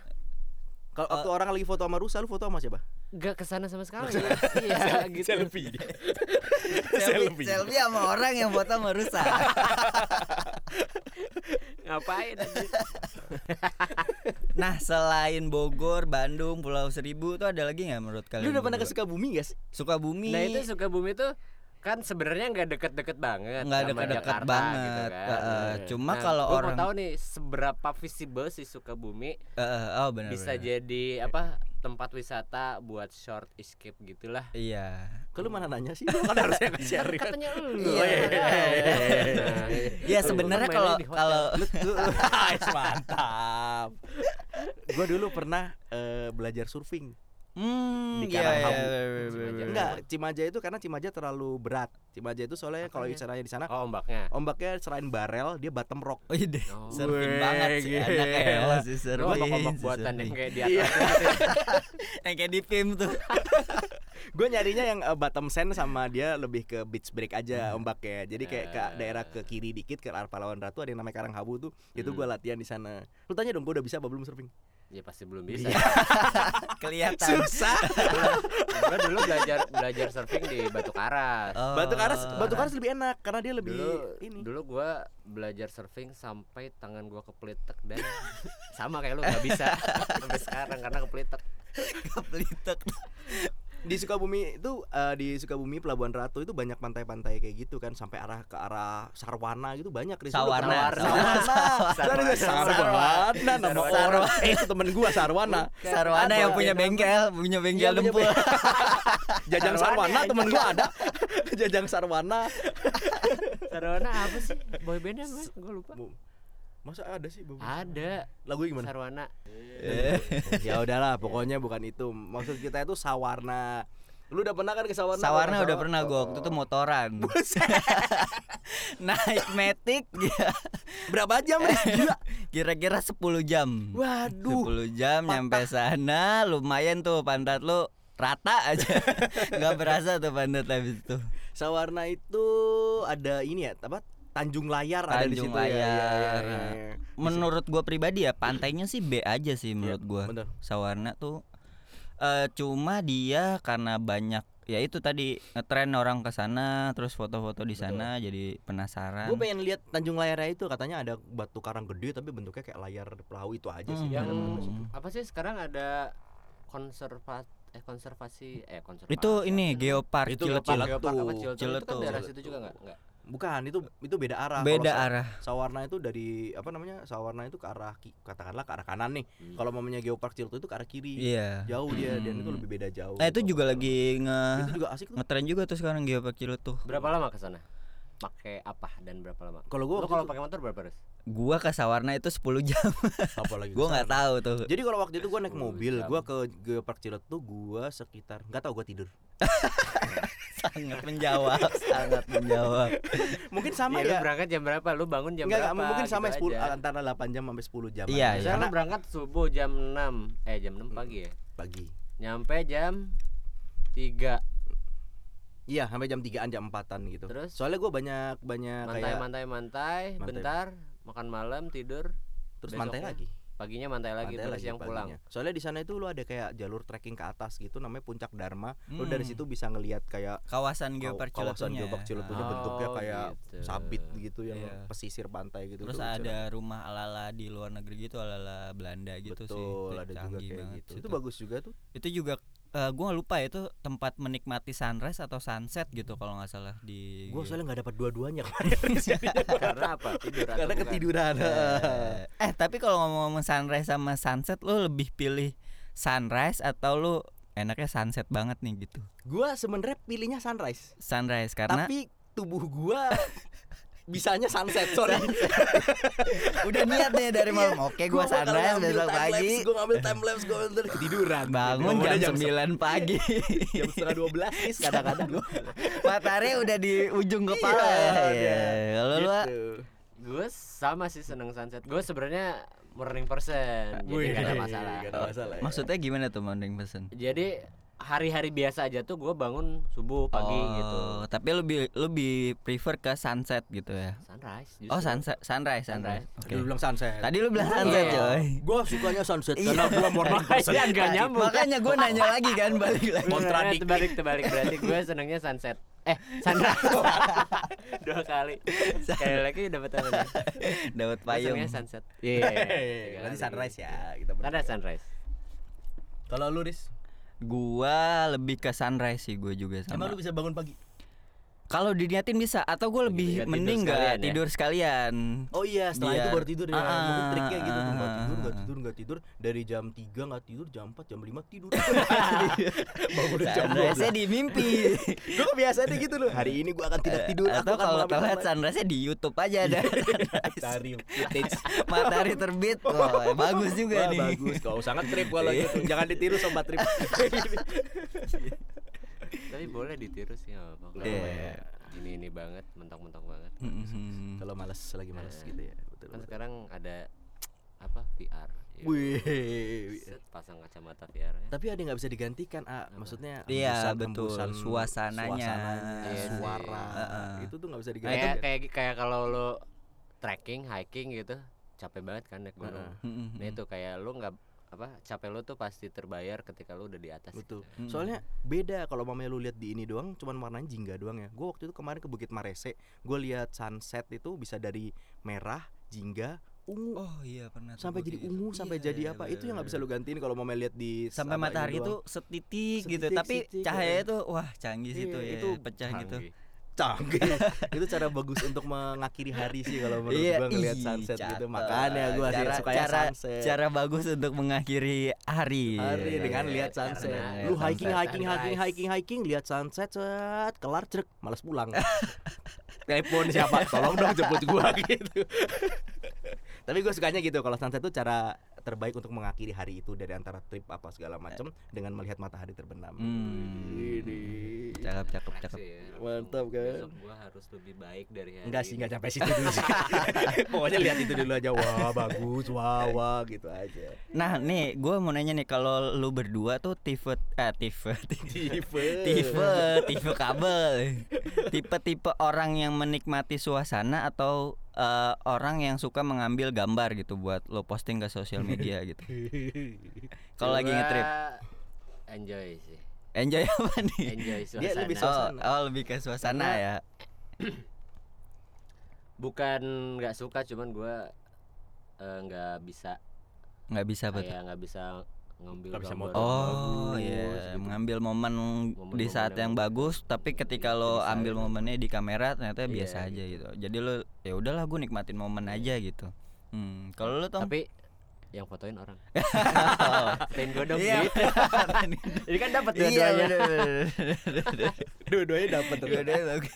S2: Kalau waktu orang lagi foto sama rusa, lu foto sama siapa?
S3: gak kesana sama sekali. Iya gitu.
S1: selfie, selfie sama orang yang foto merusak.
S3: Ngapain? anjing?
S1: nah, selain Bogor, Bandung, Pulau Seribu tuh ada lagi nggak menurut kalian?
S2: Lu udah pernah ke
S1: berdua?
S2: Sukabumi, guys?
S1: Sukabumi? Eh,
S3: nah itu Sukabumi tuh kan sebenarnya nggak deket-deket banget.
S1: nggak
S3: sama
S1: dekat-dekat
S3: Jakarta
S1: banget.
S3: Gitu kan.
S1: Heeh, cuma
S3: Nah,
S1: kalau
S3: gua mau
S1: orang
S3: tahu nih seberapa visible sih Sukabumi
S1: Heeh, oh benar.
S3: bisa
S1: benar.
S3: jadi apa tempat wisata buat short escape gitulah.
S1: Iya.
S2: Ke lu mana nanya sih? Lu kan harusnya nge-share kan.
S3: Katanya lu. Nah,
S1: Iya. Ya sebenarnya kalau kalau
S2: Guys, mantap. Gue dulu pernah eh, belajar surfing.
S1: hmm
S2: Di
S1: iya,
S2: Karanghau.
S1: iya, iya, iya, iya, iya.
S2: Enggak, Cimaja itu karena Cimaja terlalu berat. Cimaja itu soalnya kalau
S3: Makanya.
S2: misalnya di sana
S3: Oh ombaknya.
S2: ombaknya selain barel dia bottom rock.
S1: Oh, iya deh.
S3: Oh.
S1: Surfing
S2: Weh,
S1: banget sih
S2: gila.
S1: anaknya ya, si surfing.
S3: Ombak ombak
S1: si
S3: buatan yang
S1: surfing.
S3: kayak di atas. gitu
S1: Yang kayak di film tuh.
S2: Gue nyarinya yang eh, bottom sand sama dia lebih ke beach break aja ombaknya. Jadi kayak ke daerah ke kiri Hmm. dikit ke arah Palawan Ratu ada yang namanya Karanghabu tuh. Itu gue latihan di sana. Lu tanya dong gue udah bisa apa belum surfing?
S3: ya pasti belum bisa
S1: Iya. Kelihatan. Susah.
S3: Gua dulu belajar belajar surfing di Batu Karas
S1: Oh.
S2: Batu Karas, Batu Karas lebih enak karena dia lebih
S3: dulu
S2: ini.
S3: dulu gue belajar surfing sampai tangan gue kepletek dan sama kayak lu nggak bisa sampai sekarang karena kepletek
S1: Kepelitek.
S2: Di Sukabumi itu eh, di Sukabumi Pelabuhan Ratu itu banyak pantai-pantai kayak gitu kan sampai arah ke arah Sarwana gitu banyak Riz. Lu
S1: Sawarna.
S2: pernah-
S1: Sawarna.
S2: Sarwana. Sarwana. Nama orang. Eh, itu temen gua Sarwana.
S1: Sarwana yang
S2: Apa? ya,
S1: punya bengkel, punya bengkel
S2: Iya, punya
S1: dempul.
S2: Jajang Sarwana temen gua ada. Jajang Sarwana.
S3: Sarwana apa sih boybandnya mas gue lupa
S2: Masa ada
S1: Ah,
S2: sih Bobo?
S3: ada
S2: Lagu gimana?
S3: Sarwana
S2: ya udahlah, pokoknya bukan itu. Maksud kita itu Sawarna. Lu udah pernah kan ke Sawarna?
S1: Sawarna
S2: Kalau
S1: udah
S2: nggak
S1: pernah
S2: salah.
S1: gue waktu itu motoran. Naik metik
S2: Berapa jam,
S1: Eh.
S2: Riz? Gila.
S1: kira-kira 10 jam.
S2: Waduh.
S1: 10 jam nyampe sana lumayan tuh pantat lu rata aja. nggak berasa tuh pantat habis itu.
S2: Sawarna itu ada ini ya, apa? Tanjung Layar ada di
S1: Tanjung
S2: situ ya. Iya, iya,
S1: Layar.
S2: iya, iya.
S1: Menurut gua pribadi ya pantainya sih B aja sih menurut gua.
S2: Bener.
S1: Sawarna tuh eh cuma dia karena banyak ya itu tadi ngetren orang ke sana terus foto-foto di sana jadi penasaran.
S2: Gue pengen lihat Tanjung Layarnya itu katanya ada batu karang gede tapi bentuknya kayak layar perahu itu aja sih.
S1: Hmm.
S3: yang
S2: Ada-
S3: apa sih sekarang ada konserva eh konservasi eh konservasi
S1: Itu ini Geopark
S2: Itu
S1: Ciletu.
S2: Geopark.
S3: Geopark apa Ciletu? itu kan
S1: Ciletu.
S3: daerah situ juga nggak nggak
S2: Bukan, itu itu beda arah.
S1: Beda
S2: Kalau sa-
S1: arah.
S2: Sawarna itu dari apa namanya? Sawarna itu ke arah ki- katakanlah ke arah kanan nih.
S3: Hmm.
S2: Kalau mamanya Geopark Ciletu itu ke arah kiri.
S1: Iya.
S2: Jauh dia dan itu
S1: Hmm.
S2: lebih beda jauh. gitu.
S1: Nah, itu juga lagi ah, nge
S2: Itu juga asik tuh.
S1: ngetren juga tuh sekarang Geopark Ciletu.
S3: berapa lama ke sana pakai apa dan berapa lama
S2: Kalau
S3: Lu
S2: gua waktu
S3: kalau
S2: itu-
S3: pakai motor berapa res?
S1: Gua ke Sawarna itu 10 jam.
S2: apalagi
S1: gua nggak tahu tuh.
S2: Jadi kalau waktu itu gue naik
S3: Sepuluh
S2: mobil,
S3: jam.
S2: gue ke Geopark Ciletu gue sekitar nggak tahu gue tidur.
S1: sangat menjawab, sangat menjawab.
S2: Mungkin sama
S3: Iya, lu
S2: ya.
S3: berangkat jam berapa? Lu bangun jam
S2: Enggak,
S3: berapa?
S2: mungkin
S3: Gitu
S2: sama ya, 10
S3: aja.
S2: antara 8 jam sampai 10 jam.
S1: Iya,
S2: aja.
S1: iya.
S3: Misalnya
S2: Karena
S3: lu berangkat subuh jam 6 Eh jam 6 pagi ya
S2: pagi.
S3: Nyampe jam 3
S2: Iya, sampai jam 3-an jam 4-an gitu.
S3: Terus?
S2: Soalnya gue banyak banyak
S3: Mantai
S2: Nah, kayak
S3: mantai mantai
S2: Mantai.
S3: Bentar Makan malam tidur
S2: terus
S3: besoknya.
S2: mantai lagi.
S3: Paginya mantai lagi
S2: Mantai
S3: Terus yang pulang
S2: paginya. Soalnya di sana itu lu ada kayak jalur trekking ke atas gitu namanya Puncak Dharma. Lu dari
S1: Hmm.
S2: situ bisa ngelihat kayak
S1: Kawasan
S2: kaw-
S1: Geopark
S2: kawasan
S1: Ciletunya.
S2: Geopark Ciletunya
S1: Ah.
S2: bentuknya
S3: Oh,
S2: kayak
S3: gitu.
S2: sabit gitu yang
S1: Iya.
S2: pesisir pantai gitu.
S1: Terus
S2: tuh,
S1: ada rumah ala-ala di luar negeri gitu, ala-ala Belanda gitu sih.
S2: Betul,
S1: Itu
S2: ada juga
S1: canggih
S2: kayak
S1: banget
S2: gitu.
S1: sih
S2: Itu
S1: tuh.
S2: bagus juga tuh.
S1: itu juga eh, gua gue lupa ya, itu tempat menikmati sunrise atau sunset gitu kalau nggak salah di
S2: Gue Hmm. soalnya nggak dapat dua-duanya kemarin. Jadinya gua-
S3: Karena apa? Tidur atau
S2: Karena
S3: bukan?
S2: ketiduran.
S1: Eh, eh tapi kalau ngomong-ngomong sunrise sama sunset lu lebih pilih sunrise atau lu enaknya sunset banget nih gitu
S2: Gue sebenarnya pilihnya sunrise.
S1: sunrise karena
S2: tapi tubuh gua bisanya sunset sorry
S1: udah niat nih dari malam oke gua sunrise besok pagi
S2: gue ngambil time lapse gue ngambil ketiduran
S1: bangun
S2: Bangunnya
S1: jam 9 pagi
S2: se- jam setengah dua belas is kadang-kadang gue
S1: matahari udah di ujung kepala
S2: Iya,
S1: ya
S2: iya.
S1: kalau lu ah,
S3: Gue sama sih seneng sunset Gue sebenarnya morning person Jadi gak ada masalah
S2: masalah
S1: maksudnya gimana tuh morning person
S3: Jadi hari-hari biasa aja tuh gue bangun subuh pagi
S1: Oh,
S3: gitu
S1: tapi lebih lebih prefer ke sunset gitu ya
S3: Sunrise
S1: oh
S3: justru.
S1: sunset sunrise sunrise,
S3: Sunrise.
S1: oke
S2: lu bilang sunset
S1: tadi lu bilang
S3: Iya.
S1: sunset coy Iya.
S2: gue sukanya sunset karena gue morning person
S3: Iya gak nyambung
S1: Makanya gue nanya lagi kan balik lagi.
S3: Kontradiktif. Terbalik terbalik berarti gue senangnya sunset. Eh, sunrise. Dua kali. Sekali lagi dapat apa? nih?
S1: Dapat
S3: Gua
S1: payung.
S3: senangnya sunset. Iya. iya, iya. Tiga
S2: nanti
S3: kali.
S2: sunrise ya kita ber-
S3: Sunrise sunrise.
S2: kalau lu ris
S1: Gua lebih ke sunrise sih gue juga sama.
S2: emang lu bisa bangun pagi
S1: Kalau diniatin bisa atau gue
S3: gitu ya,
S1: lebih
S3: tidur
S1: mending nggak
S3: sekalian ya?
S1: tidur sekalian.
S2: Oh iya, setelah itu
S1: Biar-
S2: baru tidur ya. Mungkin
S1: Ah,
S2: triknya gitu tuh nggak
S1: ah,
S2: tidur,
S1: ah,
S2: nggak
S1: ah.
S2: tidur, nggak tidur dari jam 3 nggak tidur, jam 4, jam 5 tidur. Bangun jam
S1: Sunrise-nya Nah, di mimpi.
S2: 12. Gue kebiasaannya gitu loh. Hari ini gua akan tidak tidur, aku
S1: Eh, atau
S2: akan
S1: kalau
S2: melakukan
S1: telat
S2: hal lain.
S1: sunrise-nya di YouTube aja ada
S2: Tari footage.
S1: matahari terbit. Wah, bagus juga
S2: Wah,
S1: nih.
S2: bagus. Kau sangat trip kalau gitu. Jangan ditiru sobat trip.
S3: Tapi boleh ditiru sih nggak apa-apa. Kalau
S1: Iya.
S3: kayak Ini ini banget, mentok-mentok banget.
S1: Hmm, Mm-mm.
S2: kalau malas lagi malas gitu ya. Betul.
S3: Kan sekarang ada apa VR. Ya,
S2: Wih.
S3: set, pasang kacamata VR ya.
S2: Tapi ada yang nggak bisa digantikan, ah. Maksudnya
S1: Iya,
S2: hembusan-
S1: betul.
S2: hembusan
S1: Suasananya.
S2: suasananya,
S3: Iya sih.
S2: suara.
S1: Heeh. Nah,
S2: Itu tuh nggak bisa
S3: Kayak
S2: digantikan.
S3: Nah, kayak kayak kalau lo trekking, hiking gitu, capek banget kan naik gunung.
S1: Mm-mm.
S3: Nah itu kayak lu nggak apa capek lu tuh pasti terbayar ketika lu udah di atas.
S2: Betul.
S3: gitu.
S1: Hmm.
S2: Soalnya beda kalau mamanya lu lihat di ini doang, cuman warnanya jingga doang ya. Gue waktu itu kemarin ke Bukit Marese, gue lihat sunset itu bisa dari merah, jingga, ungu,
S1: Oh iya pernah tuh
S2: sampai
S1: gua
S2: jadi
S1: kayak gitu.
S2: ungu, sampai
S1: Iya,
S2: jadi
S1: iya,
S2: apa?
S1: bener,
S2: Itu yang nggak bisa
S1: bener.
S2: lu gantiin kalau mamanya lihat di
S1: sampai
S2: apa ini
S1: matahari
S2: doang.
S1: itu setitik, gitu,
S2: Setitik,
S1: tapi
S2: setitik,
S1: cahaya
S2: iya.
S1: itu wah canggih
S2: Iya,
S1: situ ya,
S2: itu
S1: pecah gitu.
S3: Canggih.
S2: canggih. itu cara bagus untuk mengakhiri hari sih kalau menurut
S1: Iya,
S2: gue ngelihat
S1: ih,
S2: sunset
S1: cakep.
S2: gitu. Makanya gue sih
S1: Cara-
S2: suka
S1: cara-
S2: sunset.
S1: Cara bagus untuk mengakhiri hari.
S2: Iya. hari
S1: Iya,
S2: dengan
S1: iya,
S2: lihat
S1: iya.
S2: sunset.
S1: Karena
S2: Lu
S1: lihat
S2: hiking
S1: sunset.
S2: hiking hiking
S3: sunrise.
S2: hiking hiking lihat sunset set kelar cerek malas pulang. Telepon siapa? Tolong dong jemput gua gitu. Tapi gue sukanya gitu kalau sunset itu cara terbaik untuk mengakhiri hari itu dari antara trip apa segala macem dengan melihat matahari terbenam.
S1: Hmm.
S2: Ini.
S1: Cakep cakep cakep.
S3: Sih, langsung.
S2: Mantap, kan?
S3: Besok gua harus lebih baik dari hari
S2: Enggak sih,
S3: ini.
S2: enggak sampai situ dulu sih. Pokoknya lihat itu dulu aja. Wah, bagus. Wah, wah gitu aja.
S1: Nah, nih gue mau nanya nih kalau lu berdua tuh tipe eh tipe
S2: Tipe.
S1: tipe tipe kabel tipe tipe orang yang menikmati suasana atau eh, orang yang suka mengambil gambar gitu buat lo posting ke sosial media gitu kalau lagi
S3: Gua
S1: ngetrip
S3: Enjoy sih.
S1: enjoy apa nih
S3: Enjoy suasana.
S2: Dia lebih
S1: oh,
S2: Eh, suasana.
S1: oh, lebih ke suasana
S3: Karena-
S1: ya
S3: Bukan nggak suka, cuman gua eh, nggak bisa
S1: nggak bisa
S2: Iya.
S1: betul
S3: kayak nggak bisa ngambil
S2: Nggak bisa
S3: gambar
S2: motong.
S1: oh
S3: yang
S2: bagus,
S1: iya
S2: gitu.
S1: mengambil momen di
S3: Momen-momen
S1: saat yang
S3: yang-
S1: bagus tapi ketika lo
S3: Jadi
S1: ambil
S3: saya-
S1: momennya di kamera ternyata
S3: Iya,
S1: biasa aja gitu jadi lo ya udahlah gue nikmatin momen
S2: Iya.
S1: aja gitu hmm, kalau lo
S3: bagus.
S1: Tom
S3: Tapi yang fotoin orang.
S2: nah, oh,
S3: gitu. Fotoin gua dong.
S1: Iya,
S3: Dit.
S2: gitu.
S3: Ini kan dapat
S1: Iya,
S3: dua-duanya.
S1: bener, bener, bener.
S2: Dua-duanya dapat.
S1: Dua-duanya bagus.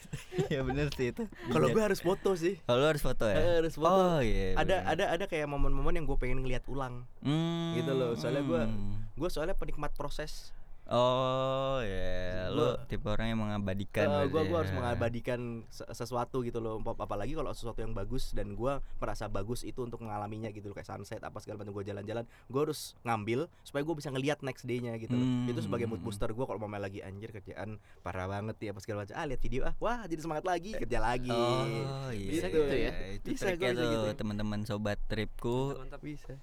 S1: Iya bener sih itu. Iya.
S2: Kalau gue harus foto sih.
S1: Kalau lu harus foto ya.
S2: Eh, harus foto.
S1: Oh iya.
S2: ada
S1: bener.
S2: ada ada kayak momen-momen yang gue pengen ngeliat ulang
S1: Hmm,
S2: gitu loh, soalnya gua-
S1: hmm.
S2: gue soalnya penikmat proses
S1: Oh iya, lu
S2: Gua-
S1: tipe orang yang mengabadikan. berarti
S2: gue Eh, gua gua
S1: ya.
S2: harus mengabadikan se- sesuatu gitu loh Ap- apalagi kalau sesuatu yang bagus dan gue merasa bagus itu untuk mengalaminya gitu loh kayak sunset apa segala macam gue jalan-jalan gue harus ngambil supaya gue bisa ngeliat next day-nya gitu loh
S1: Hmm,
S2: itu sebagai
S1: hmm,
S2: mood
S1: hmm.
S2: booster gue kalau mau main lagi anjir kerjaan parah banget ya apa segala macam ah lihat video ah wah jadi semangat lagi kerja lagi
S1: Oh iya.
S2: Bisa
S1: iya,
S2: gitu ya?
S1: Itu
S2: Bisa,
S1: triknya
S2: gua bisa
S1: tuh,
S2: gitu.
S1: teman-teman sobat tripku.
S3: Mantap.
S2: bisa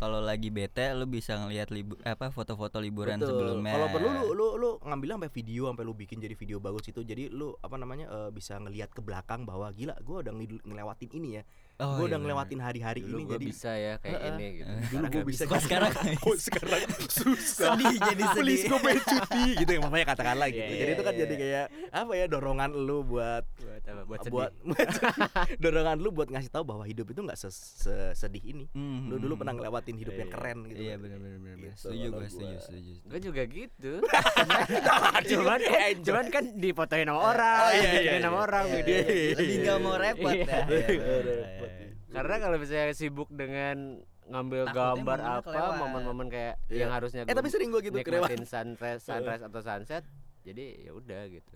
S1: Kalau lagi bete lu bisa ngelihat libu- apa foto-foto liburan
S2: Betul.
S1: sebelumnya.
S2: Kalau perlu lu lu lu ngambil sampai video sampai lu bikin jadi video bagus itu. Jadi lu apa namanya eh, bisa ngelihat ke belakang bahwa gila gua udah ngel- ngelewatin ini ya.
S1: Oh, iya,
S2: gua udah
S1: bener.
S2: ngelewatin hari-hari
S3: Dulu
S2: ini
S3: gua
S2: jadi
S3: bisa ya kayak
S2: Heeh.
S3: ini gitu.
S2: dulu gua bisa
S1: Kok
S2: gitu.
S1: sekarang?
S2: Kok sekarang susah.
S1: Sedih, jadi
S2: Please
S1: sedih.
S2: gua pengen cuti gitu yang mamanya katakanlah gitu.
S3: Iya,
S2: jadi
S3: iya,
S2: itu kan
S3: iya.
S2: jadi kayak apa ya dorongan lu buat
S3: Buat apa? Buat sedih.
S2: buat dorongan lu buat ngasih tahu bahwa hidup itu nggak ses- sesedih ini.
S1: Hmm,
S2: Lu
S1: hmm,
S2: dulu pernah ngelewatin hidup
S3: Iya,
S2: yang
S3: iya.
S2: keren gitu.
S1: Iya
S2: kan.
S1: benar benar benar.
S2: Gitu
S1: Setuju
S2: kalau
S1: gua,
S2: gua.
S1: setuju, setuju. setuju.
S3: Gue juga gitu. cuman kan, cuman kan dipotoin sama orang,
S2: Oh, iya, iya,
S3: dipotoin sama
S2: iya.
S3: orang
S2: Iya,
S3: gitu.
S2: iya, iya.
S1: Lebih nggak mau repot
S3: Iya.
S1: ya.
S2: Iya,
S1: Iya,
S2: repot.
S1: iya.
S3: Karena kalau misalnya sibuk dengan ngambil
S1: Takutnya
S3: gambar
S1: momennya
S3: apa,
S1: kelewat.
S3: momen-momen kayak
S2: Iya.
S3: yang harusnya
S2: Eh tapi
S3: gua
S2: sering gua gitu kelewat.
S3: nikmatin sunrise, sunrise atau sunset, jadi ya udah gitu.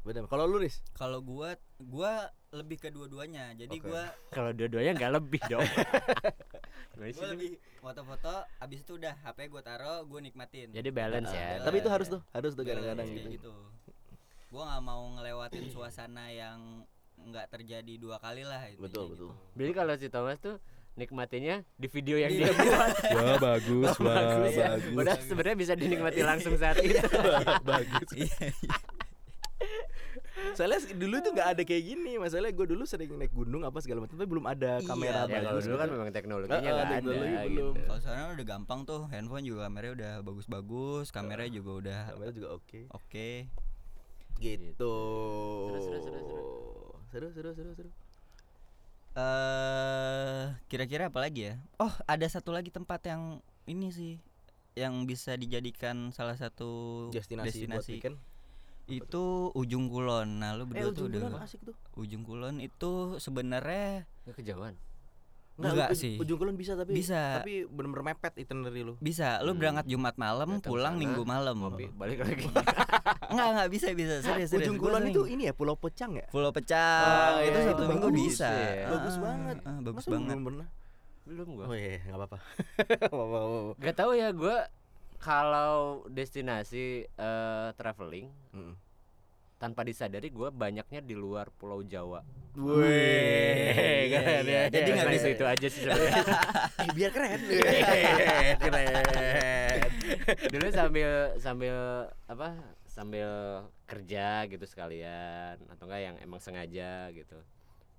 S2: Benar. Kalau lu Riz?
S1: Kalau gua gua lebih kedua-duanya. Jadi
S2: Oke.
S1: gua
S3: Kalau dua-duanya nggak lebih dong.
S1: gua lebih foto-foto abis itu udah HP gua taro gua nikmatin.
S3: Jadi balance ya.
S2: Ah, Tapi itu harus
S1: Iya.
S2: tuh, harus tuh kadang-kadang
S1: Kayak gitu.
S2: gitu.
S1: Gua nggak mau ngelewatin suasana yang nggak terjadi dua kali lah itu. jadi
S2: Betul, betul.
S1: gitu.
S3: Jadi kalau si Thomas tuh nikmatinya di video yang
S1: Iya.
S3: dia buat
S2: Wah Oh, bagus,
S3: bagus ya. Padahal
S1: Bagus.
S3: sebenarnya bisa dinikmati langsung saat itu.
S2: bagus.
S1: Iya, iya.
S2: Soalnya s- dulu tuh nggak ada kayak gini. Masalahnya gue dulu sering naik gunung apa segala macam, tapi belum ada
S1: Iya,
S2: kamera
S1: ya,
S3: Ya kalau
S2: bagus.
S3: dulu kan
S2: gitu.
S3: memang teknologinya
S2: Heeh,
S3: nggak ada
S2: teknologi belum.
S3: gitu.
S1: Kalau sekarang udah gampang tuh, handphone juga kameranya udah bagus-bagus, kamera
S2: Iya.
S1: juga udah
S2: kamera juga oke.
S1: oke.
S2: Gitu.
S3: Seru, seru, seru, seru.
S2: Seru, seru, seru, seru.
S1: eh kira-kira apa lagi ya? Oh, ada satu lagi tempat yang ini sih yang bisa dijadikan salah satu
S2: Destinasi, buat weekend.
S1: itu Ujung Kulon. Nah, lu
S2: Eh,
S1: berdua tuh
S2: ujung
S1: udah
S2: kulon asik tuh.
S1: Ujung Kulon itu sebenarnya
S3: Nggak kejauhan.
S1: Nggak
S2: Nggak,
S1: sih.
S2: Ujung kulon bisa tapi
S1: Bisa.
S2: tapi bener-bener mepet itinerary lu.
S1: bisa lu
S3: Hmm.
S1: berangkat Jumat malam,
S3: Datang
S1: pulang
S3: sana,
S1: Minggu malam. gitu.
S3: Ngopi balik lagi.
S1: Enggak, enggak bisa bisa. Serius, serius.
S2: Ujung
S1: Gua
S2: kulon
S1: sering.
S2: itu ini ya Pulau Pecang ya?
S1: Pulau Pecah,
S2: Oh,
S1: itu
S2: iya,
S1: satu
S2: itu
S1: minggu
S2: bagus
S1: bisa.
S3: ya.
S2: Bagus
S1: Ah,
S2: banget.
S1: ah, bagus
S2: Masa lu
S1: banget.
S2: Belum pernah.
S3: Belum gua.
S2: Oh iya, enggak apa-apa. Nggak apa-apa. nggak apa-apa.
S3: Gak tahu ya gue kalau destinasi eh, traveling
S2: Mm.
S3: tanpa disadari gue banyaknya di luar Pulau Jawa.
S2: Wih,
S3: Iya,
S2: keren
S3: iya.
S2: ya.
S3: Jadi nggak
S2: Keren.
S3: bisa itu aja sih sebenarnya.
S2: Eh, biar keren.
S3: Keren. Dulu sambil sambil apa? Sambil kerja gitu sekalian atau enggak yang emang sengaja gitu.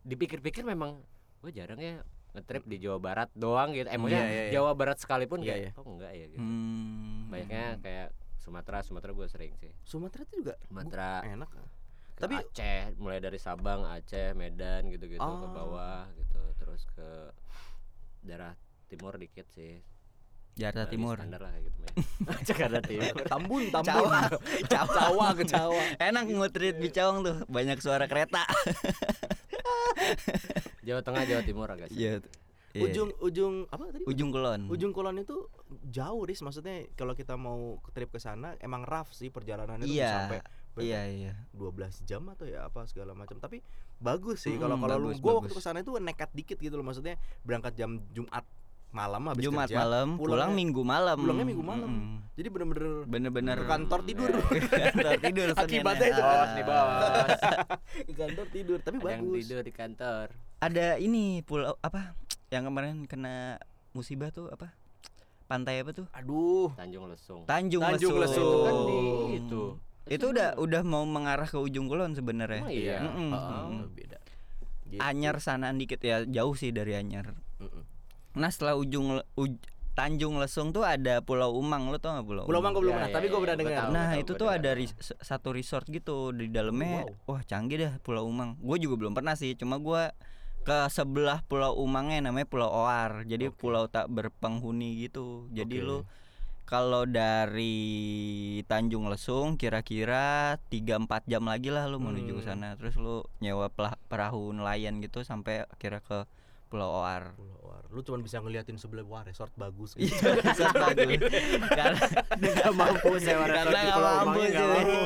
S3: Dipikir-pikir memang gue jarang ya ngetrip di Jawa Barat doang gitu. Emangnya
S2: Iya, iya, iya.
S3: Jawa Barat sekalipun
S2: Iya,
S3: kayak, oh enggak ya gitu.
S1: Hmm.
S3: Banyaknya kayak Sumatera, Sumatera gue sering sih.
S2: Sumatera itu juga
S3: Sumatera,
S2: enak.
S3: ke
S2: eh, Tapi-
S3: Aceh mulai dari Sabang Aceh Medan gitu-gitu ke
S2: Ah.
S3: bawah gitu terus ke daerah timur dikit sih
S1: Jakarta
S3: Bali
S1: Timur.
S3: standar lah kayak gitu ya Jakarta Timur
S2: Iya, Tambun, Tambun.
S1: Cawa.
S2: Cawa ke Cawa.
S1: Enak ngutrit di Cawang tuh, banyak suara kereta.
S3: Jawa Tengah Jawa Timur agak sih
S1: Iya. Iya.
S2: Ujung ujung apa tadi?
S1: ujung kulon.
S2: Ujung Kulon itu jauh, Riz. Maksudnya kalau kita mau ke trip ke sana emang rough sih perjalanannya tuh
S1: Iya.
S2: sampai berapa?
S1: Iya iya.
S2: 12 jam atau ya apa segala macam. Tapi bagus sih
S1: Mm,
S2: kalau kalau lu
S1: bagus,
S2: gua waktu
S1: bagus.
S2: ke sana itu nekat dikit gitu loh maksudnya berangkat jam Jumat malam habis
S1: Jumat
S2: kerja.
S1: malam,
S2: pulangnya-
S1: pulang Minggu malam.
S2: pulangnya Minggu malam.
S1: Mm-mm.
S2: Jadi bener-bener
S1: Bener-bener
S2: ke kantor tidur.
S1: kantor tidur Seninnya.
S2: Akibatnya itu
S1: Ah.
S3: bos nih bos
S2: ke kantor tidur, tapi
S3: ada yang
S2: bagus.
S3: tidur di kantor
S1: Ada ini pulau apa yang kemarin kena musibah tuh apa? Pantai apa tuh?
S2: Aduh.
S3: Tanjung Lesung
S1: Tanjung,
S2: Tanjung
S1: Lesung.
S2: Lesung.
S3: itu kan di itu
S1: Itu udah udah mau mengarah ke ujung kulon sebenarnya.
S3: Emang iya?
S1: Eh,
S3: gitu.
S1: Mm-mm.
S2: Ah,
S1: Mm-mm.
S2: beda.
S1: Anyar sanaan dikit ya, jauh sih dari Anyar.
S2: Mm-mm.
S1: Nah, setelah ujung Le- uj- Tanjung Lesung tuh ada Pulau Umang, lo tau gak Pulau,
S2: Pulau Mangko belum
S3: Ya,
S2: pernah,
S1: Iya,
S3: ya,
S2: tapi gua
S3: ya,
S2: pernah
S3: gua
S2: dengar.
S3: tahu.
S1: Nah,
S3: tahu,
S1: itu
S3: gua
S1: tuh
S3: dengar.
S1: ada ris- se- satu resort gitu di dalamnya. Wah, canggih dah Pulau Umang. Gue juga belum pernah sih, cuma gua ke sebelah Pulau Umangnya namanya Pulau Oar. Jadi
S2: Oke.
S1: pulau tak berpenghuni gitu. Jadi
S2: Oke.
S1: lu kalau dari Tanjung Lesung kira-kira 3-4 jam lagi lah lu menuju ke
S2: Hmm.
S1: sana. Terus lu nyewa pelah- perahu nelayan gitu sampai akhirnya ke Pulau Oar.
S2: Pulau War. Lu cuma bisa ngeliatin sebelah wah resort bagus
S1: Iya.
S2: gitu.
S1: Resort bagus. Karena
S3: nggak mampu
S2: ya,
S3: sewa
S1: Iya, karena
S2: gitu.
S1: nggak mampu sih.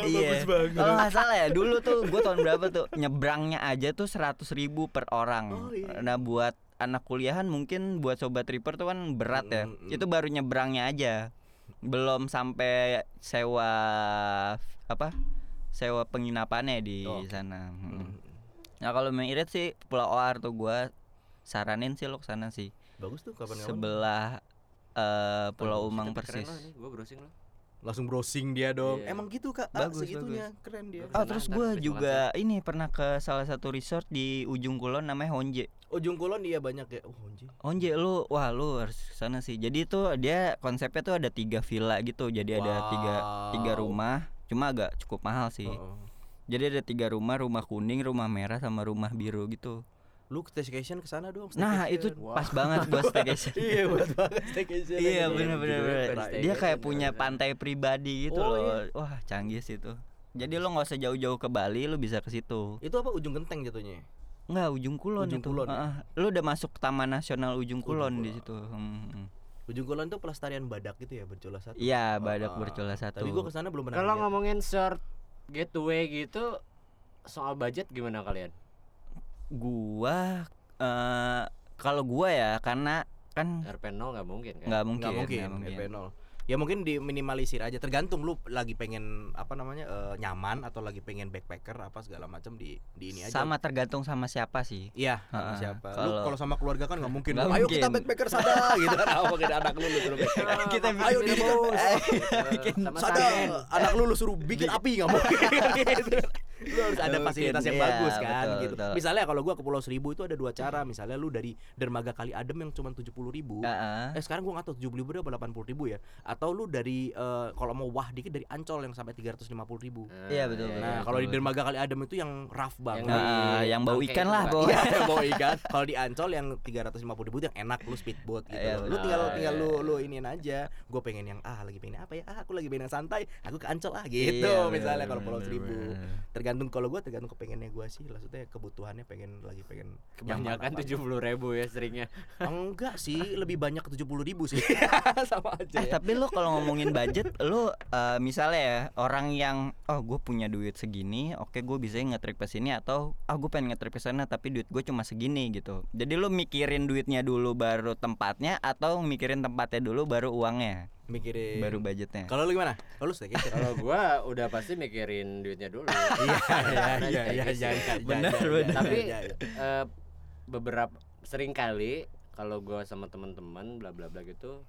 S1: Iya. Kalau nggak salah ya dulu tuh gue tahun berapa tuh nyebrangnya aja tuh seratus ribu per orang.
S2: Oh, iya.
S1: Nah buat anak kuliahan mungkin buat sobat tripper tuh kan berat ya.
S2: Mm, mm, mm.
S1: Itu baru nyebrangnya aja. Belum sampai sewa apa? Sewa penginapannya di
S2: Oh, oke.
S1: sana. Mm. Nah kalau memang irit sih Pulau Oar tuh gue saranin sih lo kesana sih.
S2: Bagus tuh kapan-kapan.
S1: Sebelah eh, Pulau Umang persis.
S3: gue browsing lo
S2: Langsung browsing dia dong.
S3: Iya.
S2: Emang gitu Kak, Ah,
S1: Bagus,
S2: segitunya keren dia.
S1: Oh
S3: Sana
S1: terus
S3: ntar
S1: gue
S3: besok
S1: juga ini pernah ke salah satu resort di ujung kulon namanya Honje.
S2: Ujung Kulon dia banyak ya. Oh, anjing.
S1: Honje lu wah lu harus ke sana sih. Jadi itu dia konsepnya tuh ada tiga villa gitu. Jadi ada tiga tiga
S2: Wow.
S1: rumah. Cuma agak cukup mahal sih.
S2: Oh, oh.
S1: Jadi ada tiga rumah, rumah kuning, rumah merah, sama rumah biru gitu.
S2: Lu ke staycation ke sana dong.
S1: Nah itu
S2: staycation.
S1: pas banget buat staycation.
S2: Iya, buat banget gitu ya. staycation.
S1: Iya
S3: Iya,
S1: bener-bener
S3: judulnya
S1: bener.
S3: Paradise
S1: Dia kayak
S3: Island,
S1: punya
S3: bener-bener.
S1: pantai pribadi gitu
S2: Oh,
S1: loh Wah canggih sih itu Jadi lo nggak usah jauh-jauh ke Bali lo bisa ke situ
S2: Itu apa ujung genteng jatuhnya?
S1: Enggak ujung kulon
S2: Ujung
S1: itu
S2: Kulon, ya?
S1: Heeh. Lo udah masuk Taman Nasional Ujung
S2: Ujung
S1: Kulon
S2: Kulon.
S1: di situ Hmm, hmm.
S2: Ujung Kulon tuh pelestarian badak gitu ya, bercula satu.
S1: Iya badak
S2: Ah,
S1: bercula satu
S2: Tapi gua ke sana belum pernah.
S3: kalau
S1: iya.
S2: lihat.
S3: ngomongin short getaway gitu soal budget gimana kalian
S1: Gua eh, Kalau gua ya karena kan
S3: Erpeno nggak mungkin kan
S1: nggak mungkin
S2: nggak mungkin,
S1: nggak mungkin.
S2: etanol. Ya mungkin diminimalisir aja tergantung lu lagi pengen apa namanya eh, nyaman atau lagi pengen backpacker apa segala macam di di ini aja.
S1: Sama tergantung sama siapa sih
S2: Iya, sama
S1: Ha-ha.
S2: siapa? Lu
S1: Kalau-
S2: kalau sama keluarga kan nggak mungkin.
S1: Nggak
S2: Ayo
S1: mungkin.
S2: kita backpacker sana gitu kan. Apa kayak anak lu lu suruh backpacker.
S3: kita
S2: Ayo di
S3: bikin
S2: Sana anak lu lu suruh bikin api nggak mungkin. gitu. Lu harus ada
S1: Nggak
S2: fasilitas
S1: mungkin,
S2: yang
S1: iya,
S2: bagus kan
S1: betul,
S2: gitu.
S1: betul.
S2: Misalnya kalau gua ke Pulau Seribu itu ada dua cara. Misalnya lu dari dermaga Kali Adem yang cuma 70.000 ribu
S1: Heeh.
S2: Eh sekarang gua nggak tahu 70 ribu apa 80 ribu ya Atau lu dari eh, kalau mau wah dikit dari Ancol yang sampai 350 ribu
S1: Iya,
S3: Ah,
S1: betul, betul.
S2: Nah kalau di Dermaga Kali Adem itu yang rough
S3: Yang
S2: banget
S1: Nah,
S3: di
S1: yang bau
S3: bangke
S1: ikan
S3: itu,
S1: lah,
S3: Pak.
S1: Bo.
S2: Iya mau ikan Kalau di Ancol yang 350 ribu itu yang enak lu speedboat gitu
S1: Iya,
S2: Lu tinggal
S3: benar.
S2: tinggal lu, lu iniin aja Gue pengen yang ah lagi pengen apa ya Ah aku lagi pengen yang santai Aku ke Ancol ah gitu
S1: Iya,
S2: misalnya
S1: bener,
S2: kalau Pulau
S1: bener,
S2: Seribu
S1: bener.
S2: Tergantung kalau gua tergantung kepengennya gua sih Maksudnya kebutuhannya pengen lagi pengen
S3: kebanyakan
S2: nyaman apa.
S3: tujuh puluh ribu ya seringnya
S2: Enggak sih lebih banyak ke 70 ribu sih Sama aja
S1: Eh
S2: ya.
S1: tapi lo kalau ngomongin budget, lo eh, misalnya ya orang yang oh gue punya duit segini, oke gue bisa ya ngetrip ke sini atau ah gue pengen ngetrip ke sana tapi duit gue cuma segini gitu. Jadi lo mikirin duitnya dulu baru tempatnya atau mikirin tempatnya dulu baru uangnya?
S2: mikirin
S1: baru budgetnya
S2: kalau lu gimana kalau lu staycation
S3: Kalau gua udah pasti mikirin duitnya dulu. Iya,
S2: iya, iya, iya, iya, iya,
S1: Benar,
S2: iya, iya,
S1: benar.
S3: Tapi
S2: iya, iya.
S3: eh, beberapa sering kali kalau gua sama teman-teman bla bla bla gitu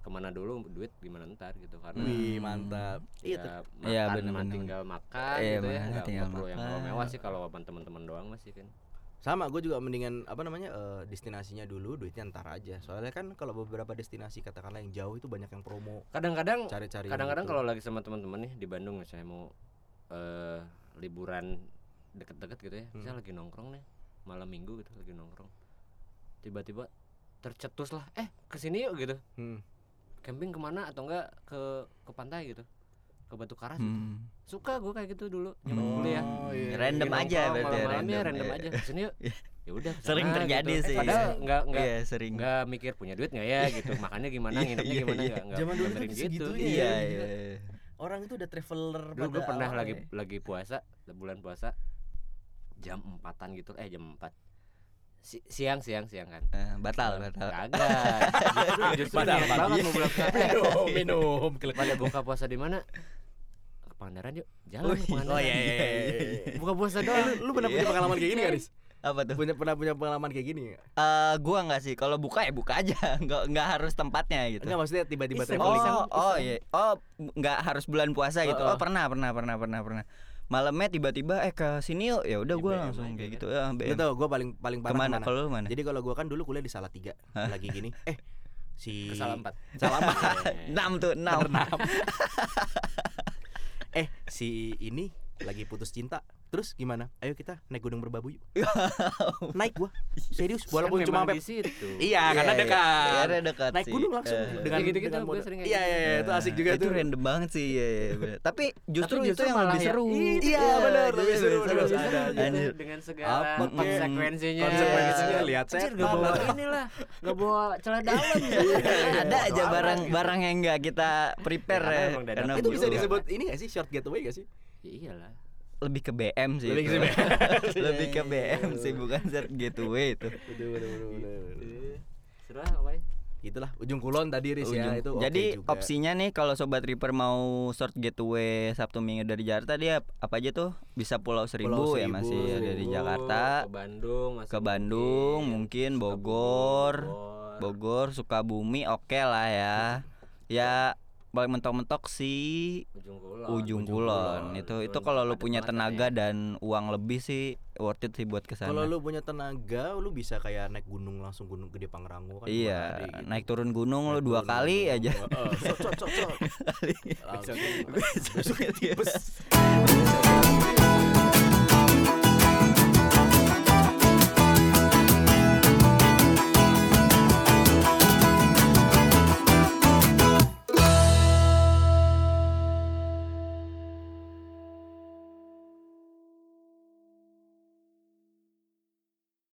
S3: kemana dulu duit gimana ntar gitu karena
S2: wih mantap
S3: ya,
S2: iya tuh
S3: makan
S1: Iya,
S3: mah
S1: bener-bener.
S3: tinggal makan
S1: Iya,
S3: gitu ya
S1: makan
S3: nggak
S1: tinggal
S3: nggak perlu yang
S1: makan.
S3: mewah sih kalau sama teman-teman doang masih kan
S2: sama gue juga mendingan apa namanya eh, destinasinya dulu duitnya ntar aja soalnya kan kalau beberapa destinasi katakanlah yang jauh itu banyak yang promo
S3: kadang-kadang
S2: cari-cari
S3: kadang-kadang
S2: gitu.
S3: kalau lagi sama teman-teman nih di Bandung misalnya mau eh, liburan deket-deket gitu ya misalnya lagi nongkrong nih malam minggu gitu lagi nongkrong tiba-tiba tercetus lah eh kesini yuk gitu
S2: Hmm.
S3: camping kemana atau enggak ke ke pantai gitu ke Batu Karas gitu.
S1: Hmm.
S3: suka gue kayak gitu dulu zaman
S1: Hmm.
S3: kuliah
S1: iya. Random
S3: Lagi
S1: aja
S3: nongkrong
S1: berarti ya,
S3: malam-malamnya
S1: random,
S3: random
S1: iya.
S3: aja kesini yuk
S1: Iya.
S3: ya udah kesana
S1: Sering terjadi
S3: gitu. Eh,
S1: sih,
S3: padahal
S1: iya.
S3: enggak enggak
S1: Iya sering.
S3: nggak mikir punya duit nggak ya gitu makannya gimana
S1: Iya,
S3: nginepnya
S1: iya,
S3: gimana
S1: iya.
S3: nggak nggak
S2: Zaman dulu tuh
S3: benerin
S2: kayak
S3: gitu
S2: segitunya
S1: Iya,
S2: Iya,
S1: iya.
S2: orang itu udah traveler
S3: dulu gue
S2: pada ya?
S3: pernah
S2: awalnya.
S3: lagi lagi puasa bulan puasa jam empatan gitu eh jam empat Si- siang siang siang kan
S1: Eh, batal, batal.
S3: kagak justru, justru
S2: Padahal,
S3: niat
S2: padahal.
S3: banget mau bulan puasa
S2: minum minum kelek
S3: pada buka puasa di mana ke Pangandaran yuk jalan ke Pangandaran
S2: oh iya iya iya, iya.
S3: buka
S2: Eh,
S3: puasa doang Iya.
S2: lu, lu pernah punya pengalaman kayak gini Garis?
S1: Apa tuh?
S2: Punya pernah punya pengalaman kayak gini? nggak?
S1: Eh, gua nggak sih. Kalau buka ya buka aja. Nggak nggak harus tempatnya gitu.
S2: Enggak maksudnya tiba-tiba
S3: Iseng.
S2: traveling
S1: oh, oh iya. Oh, nggak harus bulan puasa gitu. Oh,
S2: Oh, oh.
S1: pernah, pernah, pernah, pernah, pernah. Malamnya tiba-tiba eh ke sini yuk. Ya udah
S3: Di
S2: Iya,
S1: gua
S3: BM
S1: langsung
S3: aja
S1: kayak
S3: kan.
S1: gitu. Ya,
S2: Lu
S1: BM.
S2: tau gue paling paling parah
S1: Kemana?
S2: kemana?
S1: Kalau lu mana?
S2: Jadi kalau gua kan dulu kuliah di Salatiga Lagi gini Eh si
S3: ke Salampat
S2: Salaman. Nah,
S1: Enam tuh, enam.
S2: Iya, Eh si ini lagi putus cinta Terus gimana? Ayo kita naik gunung berbabu yuk Naik gua Serius walaupun cuma sampai
S3: di situ
S2: Iya karena
S1: Iya, iya.
S2: dekat
S1: Karena dekat
S2: Naik
S1: kan sih.
S2: gunung langsung
S1: Eh,
S2: Dengan
S3: Kayak gitu-gitu
S2: dengan
S3: gua
S2: modal.
S3: sering kayak
S2: Iya
S3: gitu.
S2: iya iya, itu asik juga
S1: itu
S2: tuh
S1: random banget sih iya, iya, bener. tapi justru
S3: Tapi
S1: itu
S3: justru
S1: yang
S3: malah
S1: lebih
S3: ya-
S1: seru
S2: Iya, bener, lebih seru,
S1: lebih
S2: lebih seru.
S1: seru. Anjir.
S3: Gitu dengan segala
S2: Apa Hmm.
S1: kek?
S3: konsekuensinya
S2: Konsekuensinya, lihat Iya.
S3: Anjir, gak
S2: setan
S3: bawa
S2: lah.
S3: inilah gak bawa celana dalam
S1: ada aja barang-barang yang nggak kita prepare ya,
S3: Ya, karena emang dadakan
S1: karena
S2: Itu bisa
S1: butuh.
S3: juga.
S2: disebut ini gak sih short getaway gak sih?
S3: ya iyalah
S1: lebih ke BM sih itu.
S2: Lebih ke BM.
S1: lebih ke
S2: Iya,
S1: BM sih bukan short getaway itu
S2: Betul betul
S3: seru lah pokoknya
S2: Itulah ujung kulon tadi Riz
S1: Ujung.
S2: ya itu oke
S1: jadi
S2: juga.
S1: opsinya nih kalau sobat Reaper mau short getaway Sabtu Minggu dari Jakarta dia apa aja tuh bisa Pulau Seribu,
S2: Pulau
S1: ya
S2: Seribu, iya,
S1: masih ya, dari
S3: Bogor,
S1: Jakarta
S3: ke Bandung masih
S1: ke Bandung mungkin
S3: Ke
S1: Bogor Bogor
S3: Bogor
S1: Sukabumi oke lah ya ya paling mentok-mentok sih
S3: ujung kulon
S1: ujung kulon itu itu kalau lu punya tenaga dan uang lebih sih worth it sih buat kesana
S2: Kalau lu punya tenaga, lu bisa kayak naik gunung langsung gunung gede Pangrango kan.
S1: iya
S2: dua hari gitu.
S1: naik turun gunung lu
S2: Naik
S1: dua
S2: turun
S1: kali
S2: gunung.
S1: aja
S2: Heeh, Cok cok cok cok. Langsung.
S1: Besoknya dia-
S2: Bes.